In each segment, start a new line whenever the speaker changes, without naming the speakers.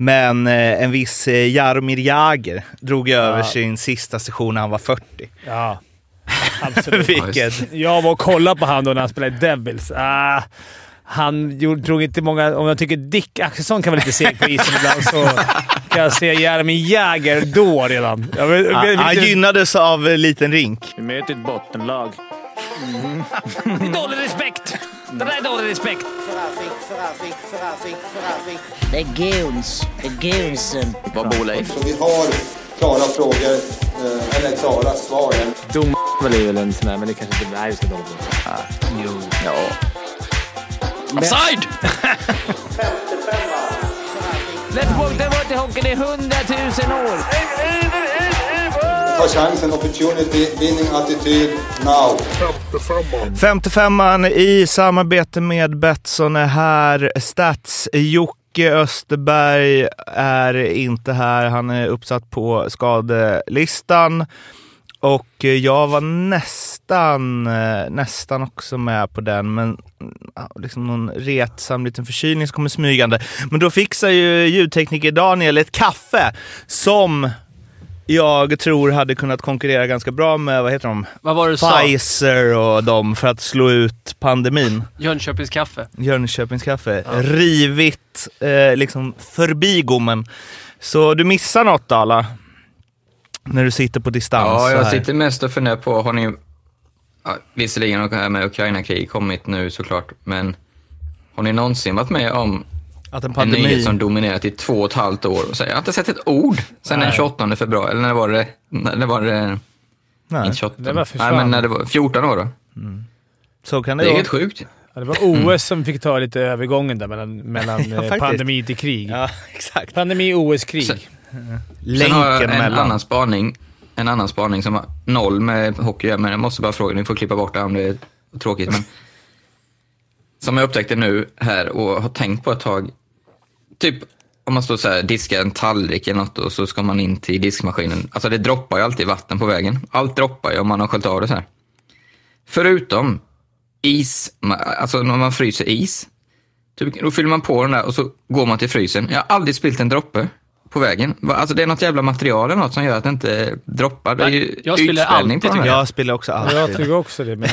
Men eh, en viss eh, Jaromir Jagr drog ju över sin sista session när han var 40.
Ja, absolut.
Vilket...
Jag var och kollade på han då när han spelade i Devils. Ah, han gjorde, drog inte många... Om jag tycker Dick Axelsson kan vara lite seg på isen ibland så kan jag se Jeremy Jäger då redan. Jag vet, jag vet-
Han gynnades av eh, liten rink.
Vi möter ett bottenlag.
Mm. Det är dålig respekt! Det där är dålig respekt!
The goons. The goonsen.
Vad bor Leif?
Vi har klara frågor, eh, eller klara svar.
Dom är väl en sån där, men det kanske inte är så dåligt.
Ah,
Jo. Ja. Offside!
Flensburg, det har varit i hockeyn i hundratusen år.
Ta chansen, opportunity, winning attityd, now.
55an i samarbete med Betsson är här. Stats Jocke Österberg är inte här. Han är uppsatt på skadelistan. Och eh, jag var nästan, eh, nästan också med på den, men ja, liksom någon retsam liten förkylning som kommer smygande. Men då fixar ju ljudtekniker Daniel ett kaffe som jag tror hade kunnat konkurrera ganska bra med, vad heter de?
Vad var det du sa?
Pfizer och dem för att slå ut pandemin.
Jönköpings kaffe.
Jönköpings kaffe. Rivit eh, liksom förbi gommen. Så du missar något Dala. När du sitter på distans
Ja,
så
jag
Alltså, här.
sitter mest och funderar på, har ni, ja, visserligen har det här med Ukraina-krig kommit nu såklart, men har ni någonsin varit med om
Att en
en
pandemi...
nyhet som dominerat i två och ett halvt år? Och så, jag har inte sett ett ord sedan den 28 februari, eller när var det, när var det,
Nej,
inte 28,
Det var för
nej
fan.
men när det var 14 år då.
så kan det,
Det är
gå.
helt sjukt.
Ja, det var OS som fick ta lite övergången där mellan, mellan eh,
faktiskt.
pandemi till krig.
Ja, exakt.
Pandemi, OS, krig.
Sen- Sen har jag
Länken
en
mellan.
annan spaning. En annan spaning som har noll med hockey att göra, men jag måste bara fråga, ni får klippa bort det om det är tråkigt. Men, som jag upptäckte nu här och har tänkt på ett tag. Typ om man står så här, diskar en tallrik eller något och så ska man in till diskmaskinen. Alltså det droppar ju alltid vatten på vägen. Allt droppar ju om man har sköljt av det så här. Förutom is, ma- alltså när man fryser is. Typ, då fyller man på den där och så går man till frysen. Jag har aldrig spilt en droppe på vägen. Va- Alltså det är något jävla material eller något som gör att det inte droppar. Det är ju
Nej, jag spiller
utspädning på
alltid,
den där.
Jag spelar också
Jag
alltid.
tycker också det, men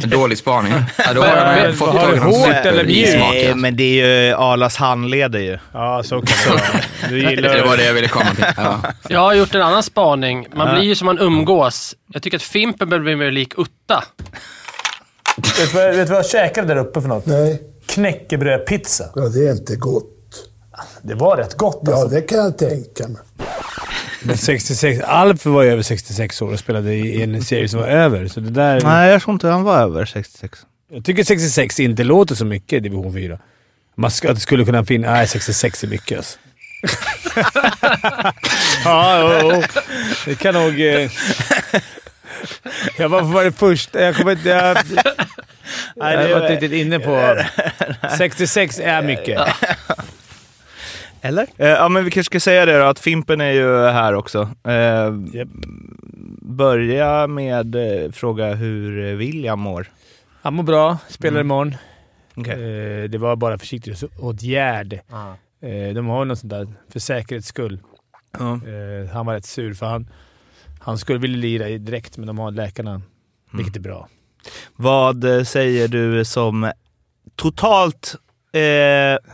det
Dålig spaning. Ja, då har
Men-
jag
men-
fått
har
tag
du
i någon
hårt eller mjukt?
superissmak.
Nej,
alltså.
men det är ju Arlas handleder ju.
ja, så kan det vara. Du
Det var
gillar
det jag ville komma till. Ja.
Jag har gjort en annan spaning. Man blir ju som man umgås. Jag tycker att Fimpen börjar bli mer lik Utta.
Vet du vad- vet du vad jag käkade där uppe för något?
Nej,
Knäckebrödpizza.
ja, det är inte gott.
Det var rätt gott
Ja,
alltså.
det kan jag tänka mig.
Men 66, Alf var ju över 66 år och spelade i en serie som var över, så det där...
Nej, jag tror inte han var över 66.
Jag tycker 66 inte låter så mycket i division 4. Man ska, att det skulle kunna finnas... Nej, 66 är mycket alltså. ja, jo, jo. Det kan nog... Eh... Jag var, var det först? Jag kommer inte... Jag,
Nej,
jag var inte riktigt inne på... 66 är mycket.
Eller? Eh, ja, men vi kanske ska säga det då, att Fimpen är ju här också. Eh,
Japp.
Börja med eh, fråga hur William mår.
Han mår bra. Spelar imorgon.
Okej. Ah.
Eh, det var bara försiktighetsåtgärd. Eh, de har ju något sånt där för säkerhets skull.
Ja.
Eh, han var rätt sur för han, han skulle vilja lira i direkt, men de har läkarna,
Mm.
vilket är bra.
Vad eh, säger du som totalt eh,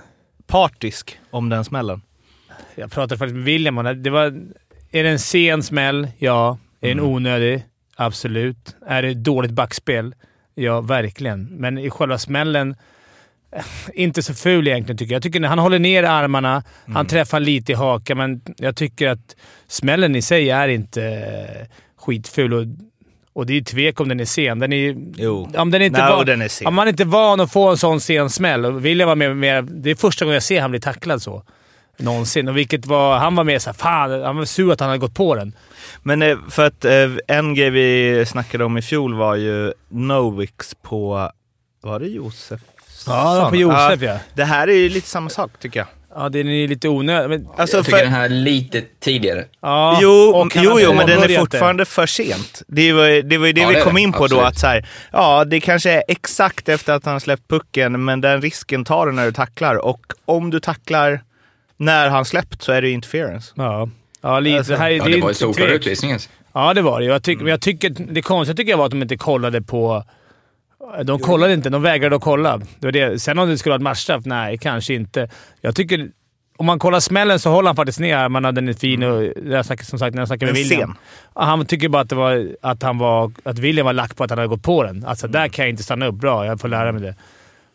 partisk om den smällen?
Jag pratade faktiskt med William om det. det var, är det en sen smäll? Ja. Är den onödig? Absolut. Är det dåligt backspel? Ja, verkligen. Men i själva smällen, eh, inte så ful egentligen tycker jag. Jag tycker när han håller ner armarna, han träffar lite i hakan, men jag tycker att smällen i sig är inte eh, skitful. Och, och det är ju tvek om den är sen. Den är ju...
Jo.
Om den är inte
Nej,
van,
och den är sen.
Om man inte är van att få en sån sen smäll. Och William var med, med, det är första gången jag ser han bli tacklad så. Någonsin. Och vilket var, han var mer såhär, fan, han var sur att han hade gått på den.
Men eh, för att eh, en grej vi snackade om i fjol var ju Novix på, var det Josef?
Ja, det var på Josef, ja.
Det här är ju lite samma sak tycker jag.
Ja, den är ju lite onödig. Men,
Alltså,
Jag tycker den här är lite tidigare.
Ah, ja,
Jo,
och han
jo,
hade
jo men den är
påbörjat det.
fortfarande för sent. Det var, det var ju det
Ja,
vi
det är
kom
det.
in på
Absolut.
då, att så här, ja, det kanske är exakt efter att han har släppt pucken, men den risken tar du när du tacklar. Och om du tacklar när han släppt så är det ju interference.
Ja. Ja, lite.
Alltså,
det, här, är-
Ja,
det är
det var ju
inte
solklar
tvek.
utvisning alltså.
Ja, det var det. Jag tyck,
Mm.
men jag tycker, det konstiga tycker jag var att de inte kollade på... De kollade inte. De vägrade att kolla. Det var det. Sen om det skulle vara ett matchstraff? Nej, kanske inte. Jag tycker... Om man kollar smällen så håller han faktiskt ner armarna. Den är fin
Mm.
och... Jag snackade, som sagt, när jag snackade med
En
William.
scen.
Ja, Han tycker bara att, det var, att, han var, att William var lack på att han hade gått på den. Alltså,
Mm.
där kan jag inte stanna upp. Bra, jag får lära mig det.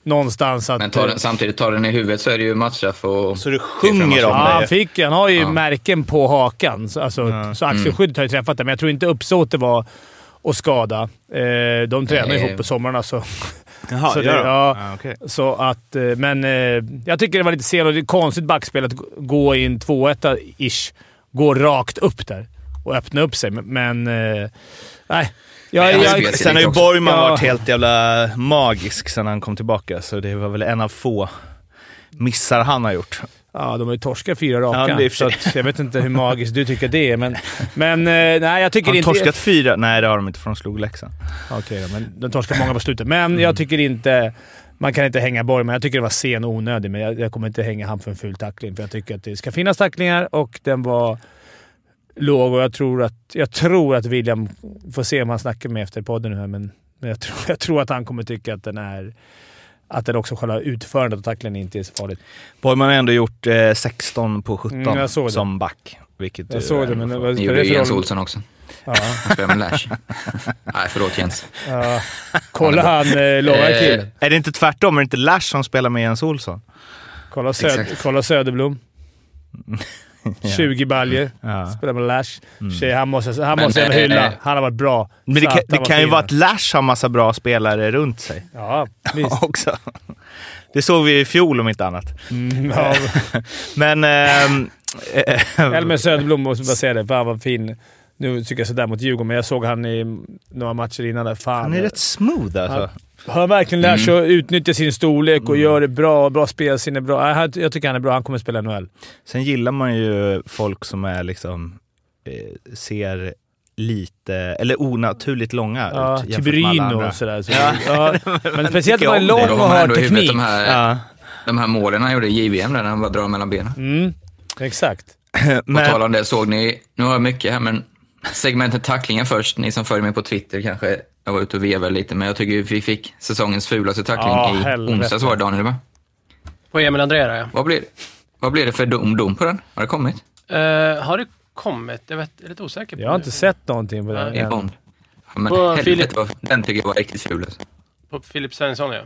Någonstans att... eh,
Men tar den, samtidigt, tar den i huvudet så är det ju matchstraff och...
Så du sjunger
framåt.
om
Ja,
det.
han, fick, han har ju
Ja.
märken på hakan, så- alltså, så
Mm.
axelskyddet har ju träffat det. Men jag tror inte uppsåtet var att skada. Eh, de tränar
Nej.
ju ihop på somrarna, så,
Jaha,
så det-
gör de?
ja.
Ah, okej.
så att... eh, Men eh, jag tycker det var lite sent och det är konstigt backspel att g- gå i en 2-1-ish. Gå rakt upp där och öppna upp sig, men... men eh, nej. Jag,
Men
jag,
spelar
Sen har ju
också.
Borgman
Ja.
varit helt jävla magisk sen han kom tillbaka, så det var väl en av få missar han har gjort.
ja, de har ju torskat fyra raka,
Ja, det är i och för
så
sig.
att, jag vet inte hur magiskt du tycker det är, men... men eh, nej, jag tycker
Har de
inte...
torskat fyra? Nej, det har de inte för de slog Leksand.
Okej då, men de torskar många på slutet. Men jag tycker inte... Man kan inte hänga Borgman. Jag tycker det var sen och onödig, men jag, jag kommer inte hänga han för en ful tackling. För jag tycker att det ska finnas tacklingar och den var låg och jag tror att, jag tror att William... Får se om han snackar med efter podden nu här, men, men jag, tror, jag tror att han kommer tycka att den är... Att den också själva utförandet av tacklingen inte är så farligt.
Borgman har ändå gjort eh, 16 på 17
Mm, jag såg det.
som back. Vilket eh,
Jag såg det, men det var-
Det
spelar det
gjorde
för
Jens
roll?
Olsson också.
Ja,
Han spelar med Lash. Nej, förlåt Jens.
ja. Kolla han eh, låga
Eh,
killen.
Är det inte tvärtom? Är det inte Lash som spelar med Jens Olsson?
Kolla, Söd,
exakt.
kolla Söderblom. 20 baljer.
Ja. Mm.
Spelar med Lash. Tjej, han måste, han
Men,
måste jag
eh,
hylla.
eh,
Han har varit bra.
Men det kan,
Satan,
det
vad
kan ju
fin
vara
han
att Lash har massa bra spelare runt sig
är. Ja, visst.
också. Det såg vi i fjol om inte annat.
Mm, ja.
Men... ehm, eh,
Elmer Söderblom måste jag bara säga det. Fan vad fin. Nu tycker jag sådär mot Djurgården, men jag såg han i några matcher innan där. Fan.
han är rätt smooth alltså.
Han har verkligen lärt
Mm.
sig att utnyttja sin storlek och gör det bra. Bra spelsinne. Bra. Nej, han- Jag tycker han är bra. Han kommer spela i NHL.
Sen gillar man ju folk som är liksom... Eh, ser lite... Eller onaturligt långa
Ja,
ut jämfört med alla
Tiberino
andra.
och sådär. Så, ja. Men speciellt
tycker
när man är
jag om
lång
det.
De
och
har
har
ändå i huvudet
teknik.
de här,
Ja,
de här målen han gjorde i JVM där när han bara drar mellan benen.
Mm, exakt.
På
men,
tal om det, såg ni, nu har jag mycket här, men segmentet tacklingar först. Ni som följer mig på Twitter kanske, jag var ute och vevade lite, men jag tycker ju vi fick säsongens fulaste tackling
Ja,
i
helvete.
onsdags var det Daniel va?
På Emil Andrera, ja.
Vad blir, vad blir det för dom, dom på den? Har det kommit?
Eh, har det kommit? Jag, vet, jag är lite osäker på
Jag har
det.
inte sett någonting på den.
Nej.
I
än.
Bond? Ja, men
Vad,
helvete,
Filip?
vad, den tycker jag var riktigt ful alltså.
På Filip Svensson, ja.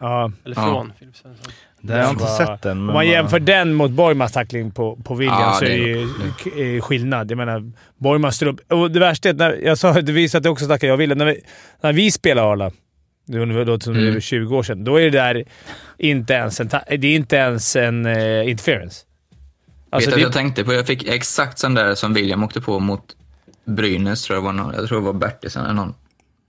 Ja.
Eller
Ja.
från Filip Svensson.
det har jag inte
Bara-
sett den.
Om
men
man jämför den mot Borgmans tackling på, på William
Ja,
så är
det
det
är
ju k- eh, skillnad. Jag menar, Borgman står upp. Och det värsta är att när jag sa att vi satt också och tackade jag och William. När vi, när vi spelade Arla, det var- det låter som
Mm.
det är 20 år sedan, då är det där inte ens en, ta- det är inte ens en eh, interference. Alltså,
Vet du
det,
vad jag tänkte på? Jag fick exakt sån där som William åkte på mot Brynäs, tror jag var någon. Jag tror det var Bertilsson eller någon.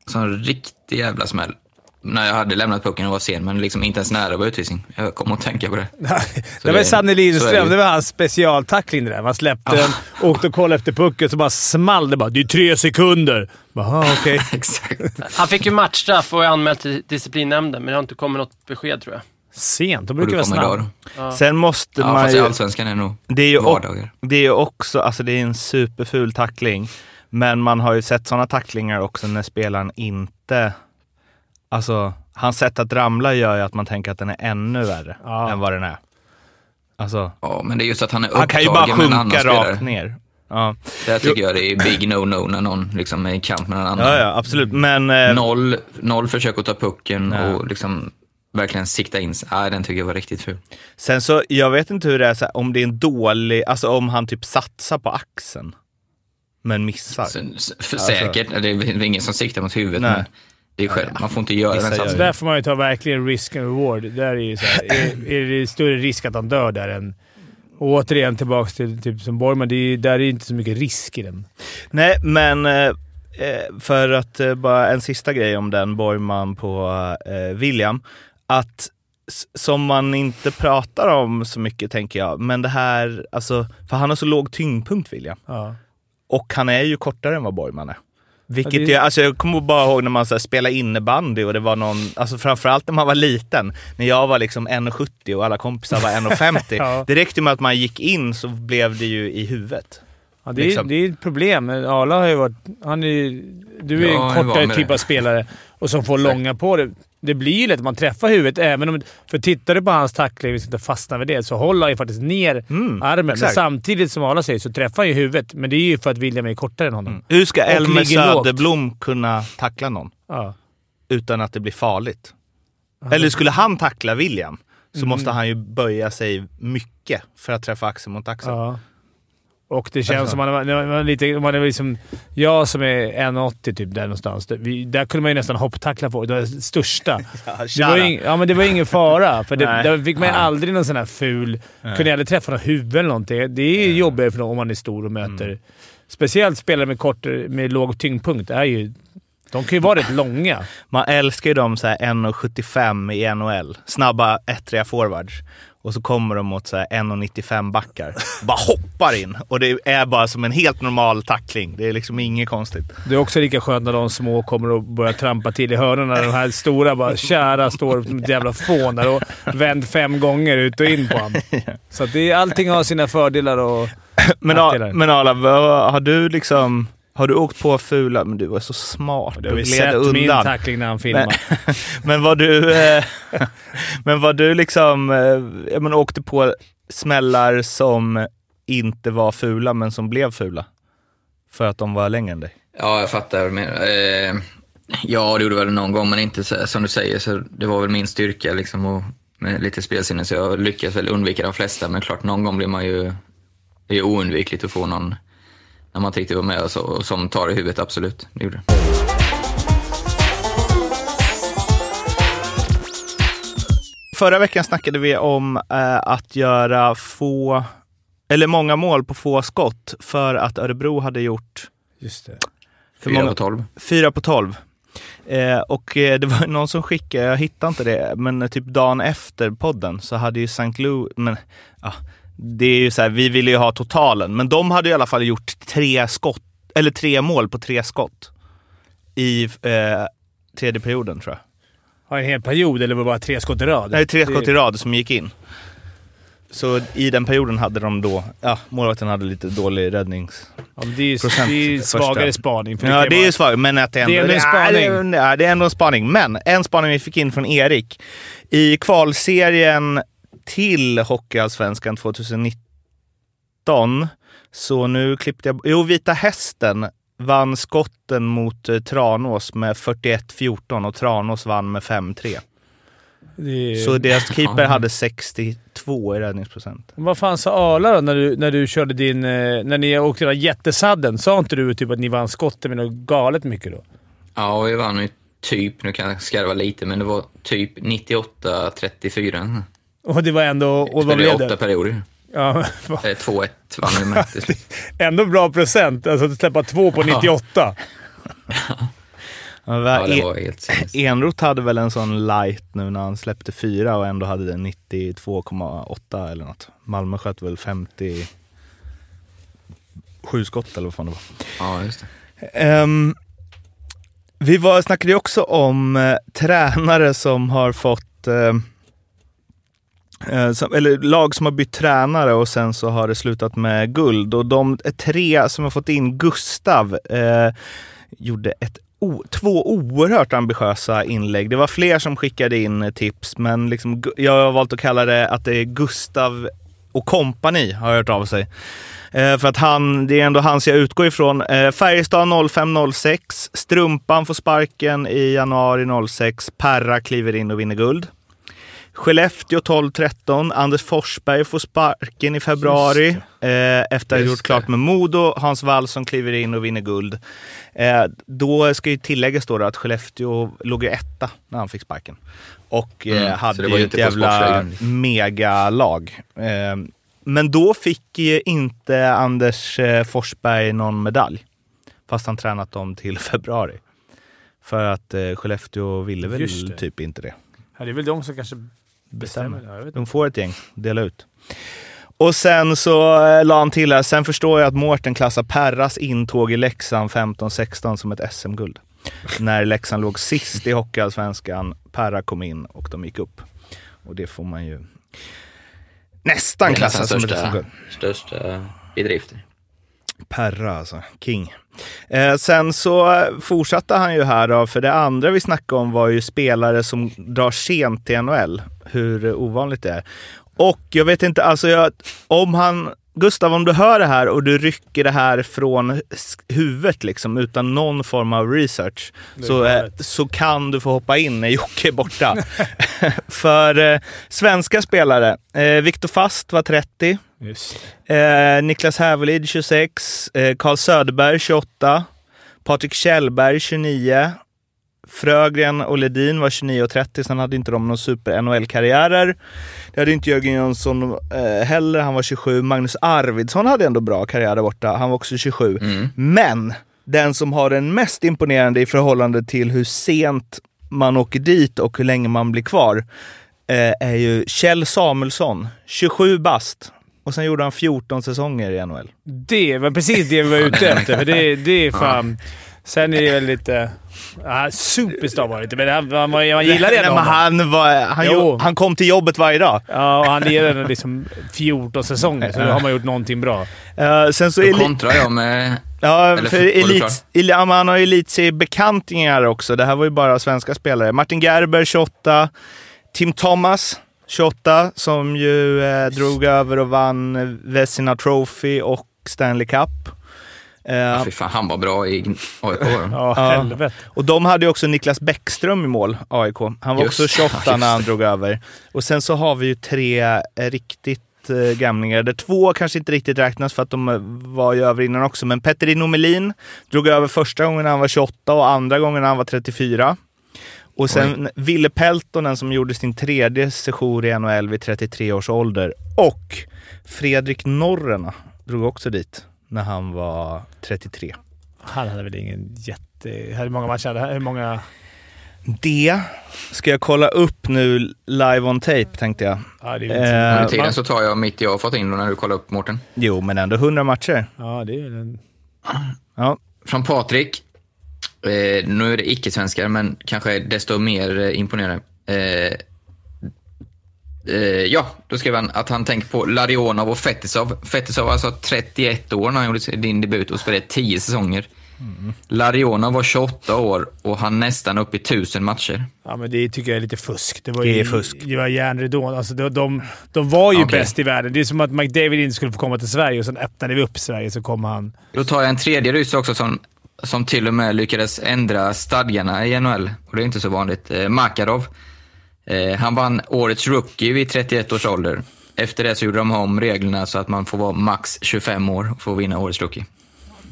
Sån riktig jävla smäll. När jag hade lämnat pucken och var sen, men liksom inte ens nära var utvisning. Jag kom att tänka på det.
det var ju Sanne
det- så är det
Lindström.
ju. Ah.
Det var hans specialtackling det där. Man släppte den, åkte och kollade efter pucken, så bara small det bara. Det är tre sekunder! Jaha, okej.
Exakt.
Han fick ju matchstraff och är anmäld till disciplinnämnden, men det har inte kommit något besked tror jag.
Sent. De
Och
brukar
du
vara
kommer idag
snabba.
då.
Sen måste
Ja,
man
fast i
ju...
Allsvenskan är det nog
Det är ju och,
vardagar.
det är ju också, alltså det är en superful tackling, men man har ju sett sådana tacklingar också när spelaren inte... Alltså, hans sätt att ramla gör ju att man tänker att den är ännu värre
Ja.
än vad den är. Alltså,
Ja, men det är just att han är
han kan ju bara
upptagen med en annan
sjunka rakt
spelare.
ner. Ja.
Där tycker jag det är big no-no när någon liksom är i kamp med någon annan.
ja, ja, absolut.
Mm.
Men eh,
Noll, noll försök att ta pucken
Nej.
och liksom verkligen sikta in sig. Nej, den tycker jag var riktigt ful.
sen så, jag vet inte hur det är, så här, om det är en dålig, alltså om han typ satsar på axeln, men missar.
Så, s- för säkert, det är väl ingen som siktar mot huvudet,
Nej.
men det är själv, man får inte göra
Vissa gör
den
Så
det.
satsen.
där får man ju ta verkligen risk and reward. Där är, ju så här, är, är det större risk att han dör där än... Och återigen tillbaka till typ som Borgman. Det är, ju- där är ju inte så mycket risk i den.
Nej, men eh, eh, för att eh, bara en sista grej om den Borgman på eh, William. Att s- som man inte pratar om så mycket tänker jag, men det här, alltså, för han har så låg tyngdpunkt William.
Ja.
Och han är ju kortare än vad Borgman är. Vilket
Ja,
ju,
det-
alltså jag kommer bara ihåg när man så här spelade innebandy och det var någon, alltså framförallt när man var liten, när jag var liksom 1,70 och alla kompisar var 1,50.
Ja.
Det räckte med att man gick in så blev det ju i huvudet.
Ja, det, är,
Liksom.
det är ett problem. Arla har ju varit... Han är, ju- du är
Ja, jag är
en kortare
van med
typ
det.
av spelare och som får långa på det. Det blir ju lätt att man träffar huvudet, även om... För tittar du på hans tackling, vi ska inte fastna vid det, så håller han ju faktiskt ner
Mm,
armen. Men
exakt.
samtidigt, som Arla säger, så träffar han ju huvudet. Men det är ju för att William är kortare än honom.
Mm.
Hur ska
Och
Elmer
ligger lågt.
Söderblom kunna tackla någon
Ja.
utan att det blir farligt? Eller skulle han tackla William så
Mm.
måste han ju böja sig mycket för att träffa axel mot axel.
Ja. alltså. Och det känns som man, man, man, lite, man är liksom... Jag som är 1,80 typ där någonstans. det- Vi, där kunde man ju nästan hopptackla på. Det var det största. Det var, ju ing, ja, men det var ingen fara, för det,
Nej.
där fick man ju aldrig någon sån här ful... Kunde aldrig träffa någon huvud eller någonting. Det är ju jobbigare för någon om man är stor och möter... Speciellt spelare med, kort, med låg tyngdpunkt är ju... De kan ju vara rätt långa.
Man älskar ju de så här 1,75 i NHL. Snabba, ettriga forwards. Och så kommer de mot så här 1,95 backar. Bara hoppar in och det är bara som en helt normal tackling. Det är liksom inget konstigt.
Det är också lika skönt när de små kommer och börjar trampa till i hörnorna. De här stora bara kära står som ett jävla fån där och vänd fem gånger ut och in på honom. Så att det, är- allting har sina fördelar och...
Men,
Nackdelar.
A- men Arla, vad- har du liksom... Har du åkt på fula... Men du var så smart.
Du har
Du
ju
gled
sett min
undan.
tackling när han filmar.
Men var du... Eh, men var du liksom... Eh, jag menar, åkte på smällar som inte var fula, men som blev fula? För att de var längre än dig?
Ja, jag fattar vad du menar. Eh, ja, det gjorde väl någon gång, men inte så, här- som du säger, så det var väl min styrka liksom, och med lite spelsinne, så jag lyckades väl undvika de flesta. Men klart, någon gång blir man ju... Det är ju oundvikligt att få någon när man inte riktigt var med och, så, och som tar i huvudet, absolut. Det gjorde det.
Förra veckan snackade vi om eh, att göra få, eller många mål på få skott för att Örebro hade gjort
Just det.
för
Fyra
många-
på tolv.
fyra på 12. Eh, och eh, det var någon som skickade, jag hittade inte det, men eh, typ dagen efter podden så hade ju St. Louis, men ja, det är ju så här, vi ville ju ha totalen, men de hade i alla fall gjort tre skott, eller tre mål på tre skott i eh, tredje perioden tror jag.
Har en hel period, eller var det bara tre skott i rad?
Nej, tre skott
Det-
i rad som gick in. Så i den perioden hade de då, ja, målvakten hade lite dålig räddnings...
Ja, men det är ju
Procent
det är ju
första.
svagare spaning. För
Ja,
kan ju
det är
vara-
ju svagt, men att det ändå...
Det är ändå en spaning.
Ja, det är- det är ändå en spaning. Men en spaning vi fick in från Erik. I kvalserien till Hockeyallsvenskan 2019, så nu klippte jag... Jo, Vita Hästen vann skotten mot eh, Tranås med 41-14 och Tranås vann med 5-3.
det är ju-
Mm.
Så deras keeper hade 62 i räddningsprocent.
Vad fan sa Arla då när du, när du körde din... eh, När ni åkte den där jättesadden? Sa inte du typ att ni vann skotten med något galet mycket då?
Ja, och vi vann ju typ, nu kan jag skarva lite, men det var typ 98-34.
Och det var ändå... Och vad
Spelade ju
blev
åtta
det?
perioder.
Ja, va-
Eh, 2-1 vann vi med till slut.
ändå bra procent. Alltså att släppa två på 98.
Ja, det var helt sinnes.
Enroth hade väl en sån light nu när han släppte fyra och ändå hade den 92,8 eller något. Malmö sköt väl 57 skott eller vad fan det var.
Ja, just det.
Ehm, vi var, snackade ju också om eh, tränare som har fått... Eh, eh, som, eller lag som har bytt tränare och sen så har det slutat med guld. Och de eh, tre som har fått in Gustav eh, gjorde ett o- två oerhört ambitiösa inlägg. Det var fler som skickade in eh, tips, men liksom, Gu- jag har valt att kalla det att det är Gustav och kompani har hört av sig. Eh, för att han, det är ändå hans jag utgår ifrån. Eh, Färjestad 0506. Strumpan får sparken i januari 06. Perra kliver in och vinner guld. Skellefteå 12-13. Anders Forsberg får sparken i februari eh, efter att ha
Just
gjort klart med Modo. Hans Wallson kliver in och vinner guld. Eh, då ska ju tilläggas då att Skellefteå låg ju etta när han fick sparken. Och eh,
Mm, så
hade
det var
ju
ju
ett
inte på
jävla
sportslägren.
megalag. Eh, men då fick eh, inte Anders eh, Forsberg någon medalj. Fast han tränat dem till februari. För att eh, Skellefteå ville
Just det.
väl typ inte det.
Ja, det är väl de som kanske bestämmer. Ja, jag vet inte.
De får ett gäng, dela ut. Och sen så eh, la han till här, sen förstår jag att Mårten klassar Perras intåg i Leksand 15-16 som ett SM-guld. När Leksand låg sist i Hockeyallsvenskan, Perra kom in och de gick upp. Och det får man ju nästan
Det är nästan
klassa som ett SM-guld.
största, största bedrifter.
Perra alltså, king. Eh, sen så fortsatte han ju här då, för det andra vi snackade om var ju spelare som drar sent till NHL. Hur eh, ovanligt det är. Och jag vet inte, alltså jag, om han, Gustav om du hör det här och du rycker det här från s- huvudet liksom utan någon form av research så, eh, så kan du få hoppa in när Jocke är borta. för eh, svenska spelare, eh, Viktor Fast var 30.
Just.
Eh, Niklas Hävelid 26, eh, Carl Söderberg 28, Patrik Kjellberg 29, Frögren och Ledin var 29 och 30, sen hade inte de någon super-NHL-karriärer. Det hade inte Jörgen Jönsson eh, heller, han var 27. Magnus Arvidsson hade ändå bra karriär där borta, han var också 27.
Mm.
Men den som har den mest imponerande i förhållande till hur sent man åker dit och hur länge man blir kvar eh, är ju Kjell Samuelsson, 27 bast. Och sen gjorde han 14 säsonger i NHL.
Det var precis det vi var ute efter. För det, det är fan... Sen är det väl lite... Ja, superstar var det inte, men han, han, var- man gillade
Nej,
ändå
men
honom.
han, var, han,
Jo.
gjorde- han kom till jobbet varje dag.
Ja, och han lirade ändå liksom 14 säsonger, så då har man gjort någonting bra.
Eh, sen så
Då
elit,
kontrar jag med...
ja, för
eller fotboll, klart.
elit, el, ja, men han har elitseriebekantingar också. Det här var ju bara svenska spelare. Martin Gerber, 28. Tim Thomas, 28, som ju eh, drog över och vann eh, Vezina Trophy och Stanley Cup. Eh,
Fy fan, han var bra i AIK. då.
Ja,
Ja.
helvete.
Och de hade ju också Niklas Bäckström i mål, AIK. Han var
Just
också
det,
28
just
när han
det.
drog över. Och sen så har vi ju tre eh, riktigt eh, gamlingar, där två kanske inte riktigt räknas för att de eh, var ju över innan också. Men Petteri Nomelin drog över första gången när han var 28 och andra gången när han var 34. Och sen Ville Peltonen som gjorde sin tredje session i NHL vid 33 års ålder. Och Fredrik Norrena drog också dit när han var 33.
Han hade väl ingen jätte... Hur många matcher hade han? Hur många...
Det ska jag kolla upp nu live on tape tänkte jag.
Ja, det är ju inte-
Under
Eh,
tiden så tar jag mitt jag har fått in då när du kollar upp, Mårten.
jo, men ändå 100 matcher.
ja, det är väl en...
Ja.
Från Patrik. Eh, nu är det icke-svenskar, men kanske desto mer eh, imponerande. Eh, eh, ja, då skrev han att han tänker på Larionov och Fetisov. Fetisov var alltså 31 år när han gjorde din debut och spelade 10 säsonger. Larionov var 28 år och han nästan upp i 1000 matcher.
Ja, men det tycker jag är lite fusk. Det, var
Det
ju,
är fusk.
Det var järnridån. Alltså, de, de, de var ju
Okej.
bäst i världen. Det är som att McDavid inte skulle få komma till Sverige och sen öppnade vi upp Sverige så kom han.
Då tar jag en tredje ryss också som, som till och med lyckades ändra stadgarna i NHL. Och det är inte så vanligt. Eh, Makarov. Eh, han vann årets rookie vid 31 års ålder. Efter det så gjorde de om reglerna så att man får vara max 25 år för att vinna årets rookie.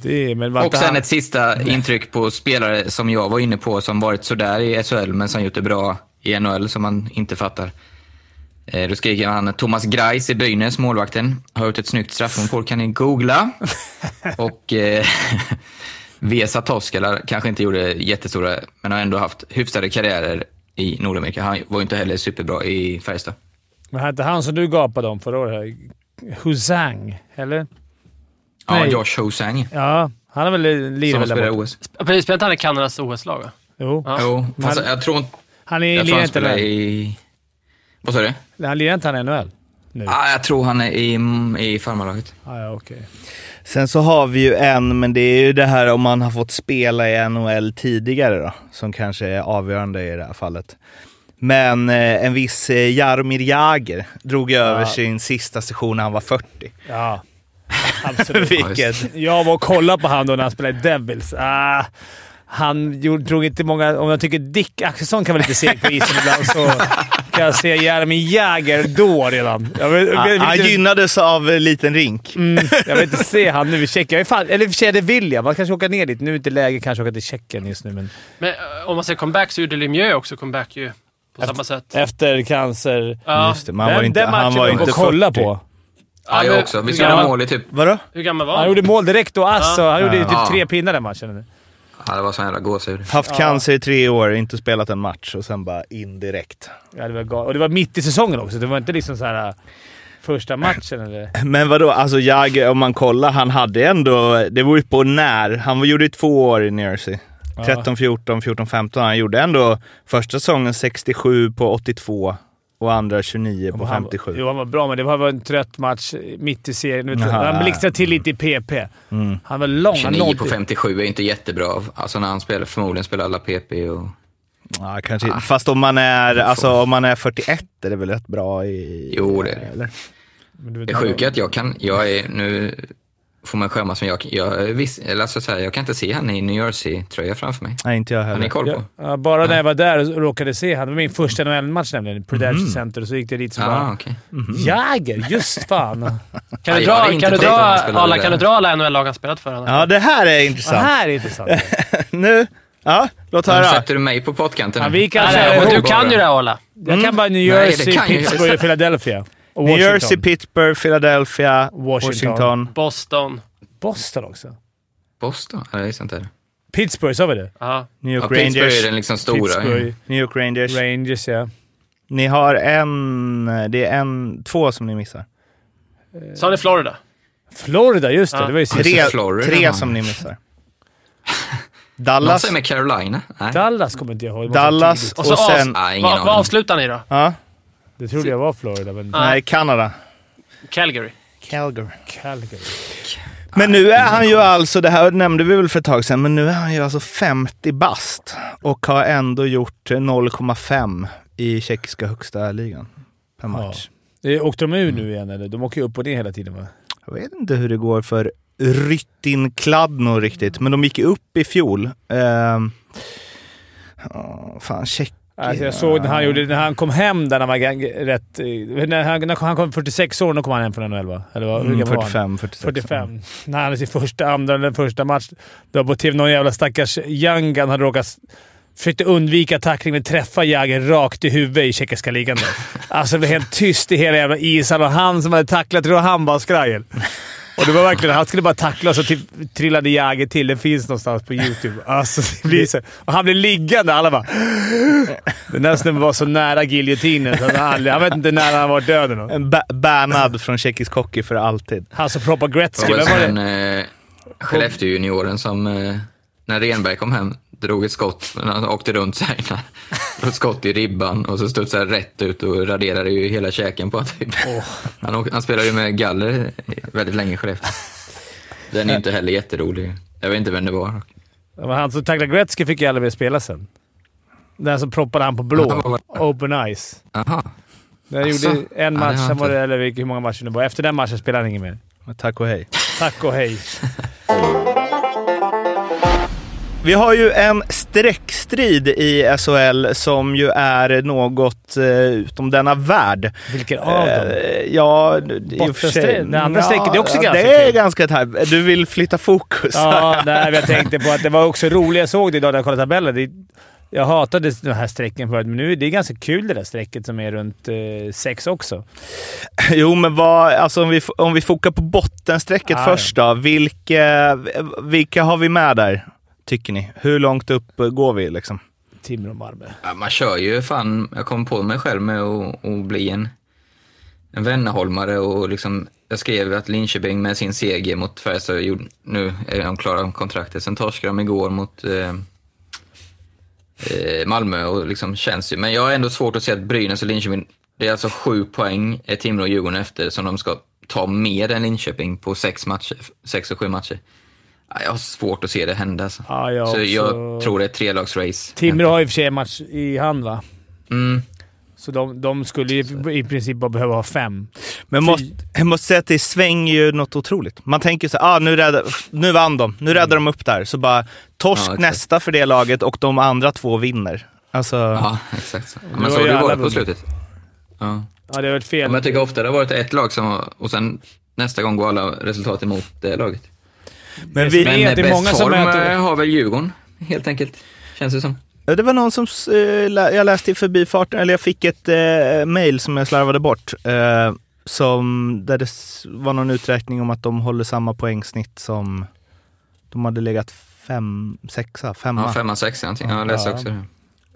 Det, men var
Och
inte
sen
han,
ett sista intryck på spelare som jag var inne på som varit sådär i SHL men som gjort det bra i NHL som man inte fattar. Eh, Då skriker han Thomas Greis i Brynäs, målvakten. Har gjort ett snyggt straffmål, kan ni googla. Och eh, Vesa Toskala kanske inte gjorde jättestora, men har ändå haft hyfsade karriärer i Nordamerika. Han var ju inte heller superbra i Färjestad.
men hade inte han som du gapade om förra året? här? Huzang, eller?
Ja,
Nej.
Josh Hosang
Ja, han har väl lirat
som
väl
spelar
där
i
borta?
OS.
Precis, spelade inte han i Kanadas OS-lag? va?
Jo.
Ja.
Jo, fast
Men-
jag tror inte...
Han är-
Jag tror
lirar
han
inte
spelar
där.
i... Vad sa du?
Han lirar inte han i NHL?
Ja, jag tror han är i, i farmarlaget.
Ah, ja, okej.
Sen så har vi ju en, men det är ju det här om man har fått spela i NHL tidigare då, som kanske är avgörande i det här fallet. Men eh, en viss eh, Jaromir Jagr drog över sin sista session när han var 40.
Ja, absolut.
Vilket...
Jag var och kollade på han då när han spelade i Devils. Ah, han gjorde, drog inte många... Om jag tycker Dick Axelsson kan vara lite seg på isen ibland så kan jag säga Jeremy Jäger då redan. Jag vill, jag vill,
Han
inte-
gynnades av eh, liten rink.
mm, jag vill inte se han nu i Tjeckien. Jag är fan, eller i och för sig, det vill jag. Man kanske åka ner dit. Nu är det inte läge kanske att åka till Tjeckien just nu, men...
Men eh, om man säger comeback så gjorde Lemieux också comeback ju. På samma sätt.
Efter cancer...
Ja.
Just det, men han var inte, han
matchen
var
var
inte
och kolla
40.
på.
Ja,
men
jag också. Vi
hur,
skulle ha
gammal,
mål i typ...
Vadå?
hur gammal var
Han
han?
gjorde måldirekt och ass och han gjorde ju
Ja.
Ah.
typ tre pinnar den matchen.
Ja, det var sån jävla gåshud.
Haft cancer i tre år, inte spelat en match och sen bara indirekt.
Ja, det var gal- och det var mitt i säsongen också. Det var inte liksom så här... första matchen eller?
Men vadå, alltså jag, om man kollar, han hade ändå... Det var ju på när. Han gjorde ju två år i Jersey. 13, 14, 14, 15. Han gjorde ändå första säsongen 67 på 82 och andra 29 på
Han-
57.
Jo, han var bra, men det var var en trött match mitt i serien. Nu tror jag-
Jaha.
Han blixtrade till lite i PP.
Mm.
Han var lång. Han
29 på
nådde-
57 är inte jättebra. Alltså när han spelar, förmodligen spelar alla PP och...
Ja, kanske. Fast om man, är, alltså, om man är 41 är det väl rätt bra i...
Jo, det är det.
Eller?
Men du vet-
Det sjuka är att jag kan, jag är, nu får man skämmas, men jag, jag, är viss, eller alltså så här, jag kan inte se han i New Jersey-tröja framför mig.
Nej, inte jag
Har ni
heller.
koll på?
Ja, bara när jag var där och råkade se han. Det var min första
Mm.
NHL-match nämligen. Prudential Center. Och så gick det dit så
Ah,
bara...
okej.
Jäger! Just fan!
Kan
Ja,
du
jag hade
dra,
inte
kan du
tänkt
dra,
att han spelade
alla,
där.
kan du dra alla NHL-lag han spelat för? Anna?
Ja, det här är
Det
intressant.
här är intressant.
Nu, ja, låt
Nu
höra.
sätter du mig på pottkanten.
Ja,
nu.
vi kan
Nej,
säga-
nej, men du
bara.
kan ju det här, Ola.
Jag kan bara New
Nej, det
Jersey,
kan jag.
Pittsburgh, och Philadelphia. Och
Mm. New
Washington.
Jersey, Pittsburgh, Philadelphia,
Washington.
Washington.
Boston.
Boston också.
Boston? Ja, det är sant där.
Pittsburgh, sa vi det?
Ja.
New
Ja,
York
Pittsburgh är
Rangers.
den liksom stora.
Pittsburgh,
New York Rangers.
Rangers, ja.
Ni har en, det är en, två som ni missar.
Så har ni Florida.
Florida, just det.
Ja.
Det var ju sist.
Tre,
Florida har
tre
han.
som ni missar.
Någon
Dallas,
säger med Carolina? Nej.
Dallas kommer inte jag ihåg. Det måste vara
Dallas
tidigt.
Och
och
så
sen...
Nej, ingen
Vad,
aning.
vad avslutar ni då?
Ja,
Det trodde jag var Florida, men...
Ja.
nej, Kanada.
Calgary.
Calgary.
Calgary.
Men nu är han ju alltså, det här nämnde vi väl för ett tag sedan, men nu är han ju alltså 50 bast och har ändå gjort 0,5 i tjeckiska högsta ligan per match.
Eh, Åkte de ur nu igen eller? De åker ju upp och ner hela tiden va?
Jag vet inte hur det går för Ryttin Kladno riktigt, men de gick ju upp i fjol. Ehm, ja, fan, Tjeck...
Alltså jag såg när han, gjorde, när han kom hem där han var gang- rätt... eh, När han, när han kom 46 år, då kom han hem från NHL va? Eller vad, hur
Mm,
gammal var
45,
han?
46.
45. När han i sin första, andra eller första match. Det var på tv någon jävla stackars Jangan hade råkat... Försökte undvika tackling men träffa Jagr rakt i huvudet i tjeckiska ligan. då. Alltså det blev helt tyst i hela jävla ishallen och han som hade tacklat tror jag han var skrajel. Och det var verkligen... Han skulle bara tackla och så typ, trillade Jagr till. Den finns någonstans på YouTube. Alltså, det blir så. Och han blev liggande alla bara... Den där snubben var så nära giljotinen så han, aldrig- han vet inte när han var död eller något.
En ba- bannad från tjeckisk hockey för alltid.
Han som proppar Gretzky.
Det var
Vem var det?
sen eh, Skellefteå-junioren som, eh, när Renberg kom hem, drog ett skott. Men han åkte runt sig. när- Drog ett skott i ribban och så studsade rätt ut och raderade ju hela käken på typ. Han, åk- han spelade ju med galler väldigt länge i Skellefteå. Den är ju inte heller jätterolig. Jag vet inte vem det var.
Det var han som tacklade Gretzky fick jag aldrig mer spela sen. Den som proppade han på blå. Open eyes.
Aha.
När jag
Asså?
gjorde en
Alltså, Ja, det
match,
har
sen var
inte-
det, eller vilka- hur många matcher det var. Efter den matchen spelade han ingen mer.
Tack och hej.
Tack och hej.
Vi har ju en streckstrid i SHL som ju är något eh, utom denna värld.
Vilken av dem?
Eh, ja, d- i och för sig.
Bottenstrid. Det andra strecket är också
ja,
ganska
Det är
kul.
ganska tajt. Du vill flytta fokus.
Ja, nej, men jag tänkte på att det var också roligt. Jag såg det idag när jag kollade tabellen. Det, jag hatade den här strecken förut, men nu är det ganska kul det där strecket som är runt eh, sex också.
Jo, men vad, alltså, om, vi, f- om vi fokar på bottenstrecket
Ah, ja.
först då. Vilka, vilka har vi med där, tycker ni? Hur långt upp eh, går vi liksom?
Timrå och Malmö.
Ja, man kör ju fan, jag kom på mig själv med att, att bli en, en Vännerholmare och liksom, jag skrev att Linköping med sin seger mot Färjestad, gjorde- nu är de klara om kontraktet. Sen torskade de igår mot eh, eh, Malmö och liksom känns ju, men jag har ändå svårt att se att Brynäs och Linköping, det är alltså sju poäng är Timrå och Djurgården efter som de ska ta mer än Linköping på sex matcher, sex och sju matcher. Ja, Jag har svårt att se det hända alltså.
Ja, jag
Så
också.
jag tror det är ett trelagsrace.
Timrå har i och för sig en match i hand, va?
Mm.
Så de, de skulle ju i princip bara behöva ha fem.
Men
Fy-
måste, jag måste säga att det svänger ju något otroligt. Man tänker så här, ah, nu, räddar, nu vann de, nu räddar
Mm.
de upp där. Så bara torsk
Ja, exakt.
nästa för det laget och de andra två vinner. Alltså,
Ja, exakt så.
var
Men så har
ju
det ju
alla
varit på
vunnit.
slutet. Ja.
Ja, det har varit fel.
Men jag tycker ofta det har varit ett lag som har, och sen nästa gång går alla resultat emot det laget.
men vi,
Jag
Men
vet,
eh,
det är många
bäst
som
form
möter-
eh, har väl Djurgården, helt enkelt. Känns det som.
Ja, Det var någon som eh, lä- jag läste i förbifarten, eller jag fick ett eh, mail som jag slarvade bort. Eh, som, där det s- var någon uträkning om att de håller samma poängsnitt som de hade legat fem, sexa, femma.
Ja, femma, sexa någonting. Ja, jag läste också det.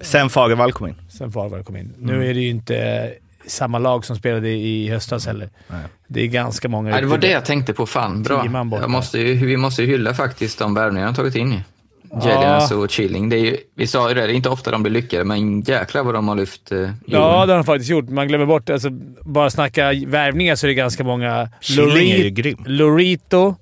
Sen Fagervall kom in. Mm.
Sen Fagervall kom in. Nu är det ju inte eh, samma lag som spelade i höstas heller. Det är ganska många.
Nej, det var
ute.
det jag tänkte på. Fan, bra.
Tio man borta.
Jag måste ju, vi måste ju hylla faktiskt de värvningar de tagit in. ju. Jelinas och Chilling. Det är ju, vi sa ju det, det är inte ofta de blir lyckade, men jäklar vad de har lyft eh,
Ja, det har de faktiskt gjort. Man glömmer bort... Alltså, bara snacka värvningar så är det ganska många.
Schilling är ju
Lorit-
grym. Mm.
Lorito,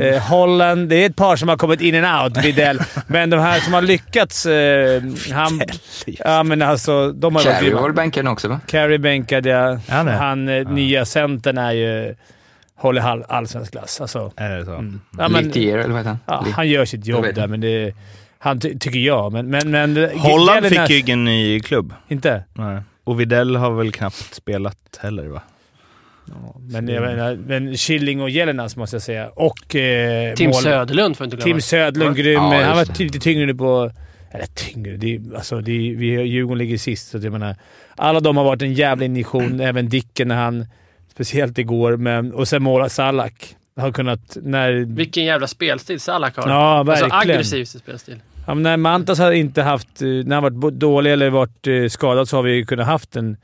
eh, Holland. Det är ett par som har kommit in and out, Widell. men de här som har lyckats... Eh, han, ja, men alltså, de har ju varit
Carey var
grymma.
bänkade också va?
Carey bänkade jag.
Han är.
Han, eh, nya centern är ju... Håller all, allsvensk klass. Alltså,
Är det så?
ja, men,
Littier, eller vad heter han?
ja,
Li-
han gör sitt jobb
vet.
där, men det... Han ty tycker jag, men... men, men
Holland
Jelinas-
fick ju ingen ny klubb.
Inte?
Nej. Och Videll har väl knappt spelat heller va?
Men, jag menar, men Killing och Jelinas måste jag säga. Och eh,
Tim
mål-
Söderlund får inte glömma.
Tim Södlund, grym.
Ja,
han var
just det.
ty- lite tyngre nu på... Eller tyngre? Det är, alltså, det är, vi, Djurgården ligger sist, så att jag menar. Alla de har varit en jävla injektion. Även Dicken när han... Speciellt igår. Men, och sen måla Salak. Har kunnat... När,
Vilken jävla spelstil Salak har.
Ja,
alltså
verkligen.
aggressiv spelstil.
ja, men när Mantas har inte haft... eh, När han varit bo- dålig eller varit eh, skadad så har vi ju kunnat haft en...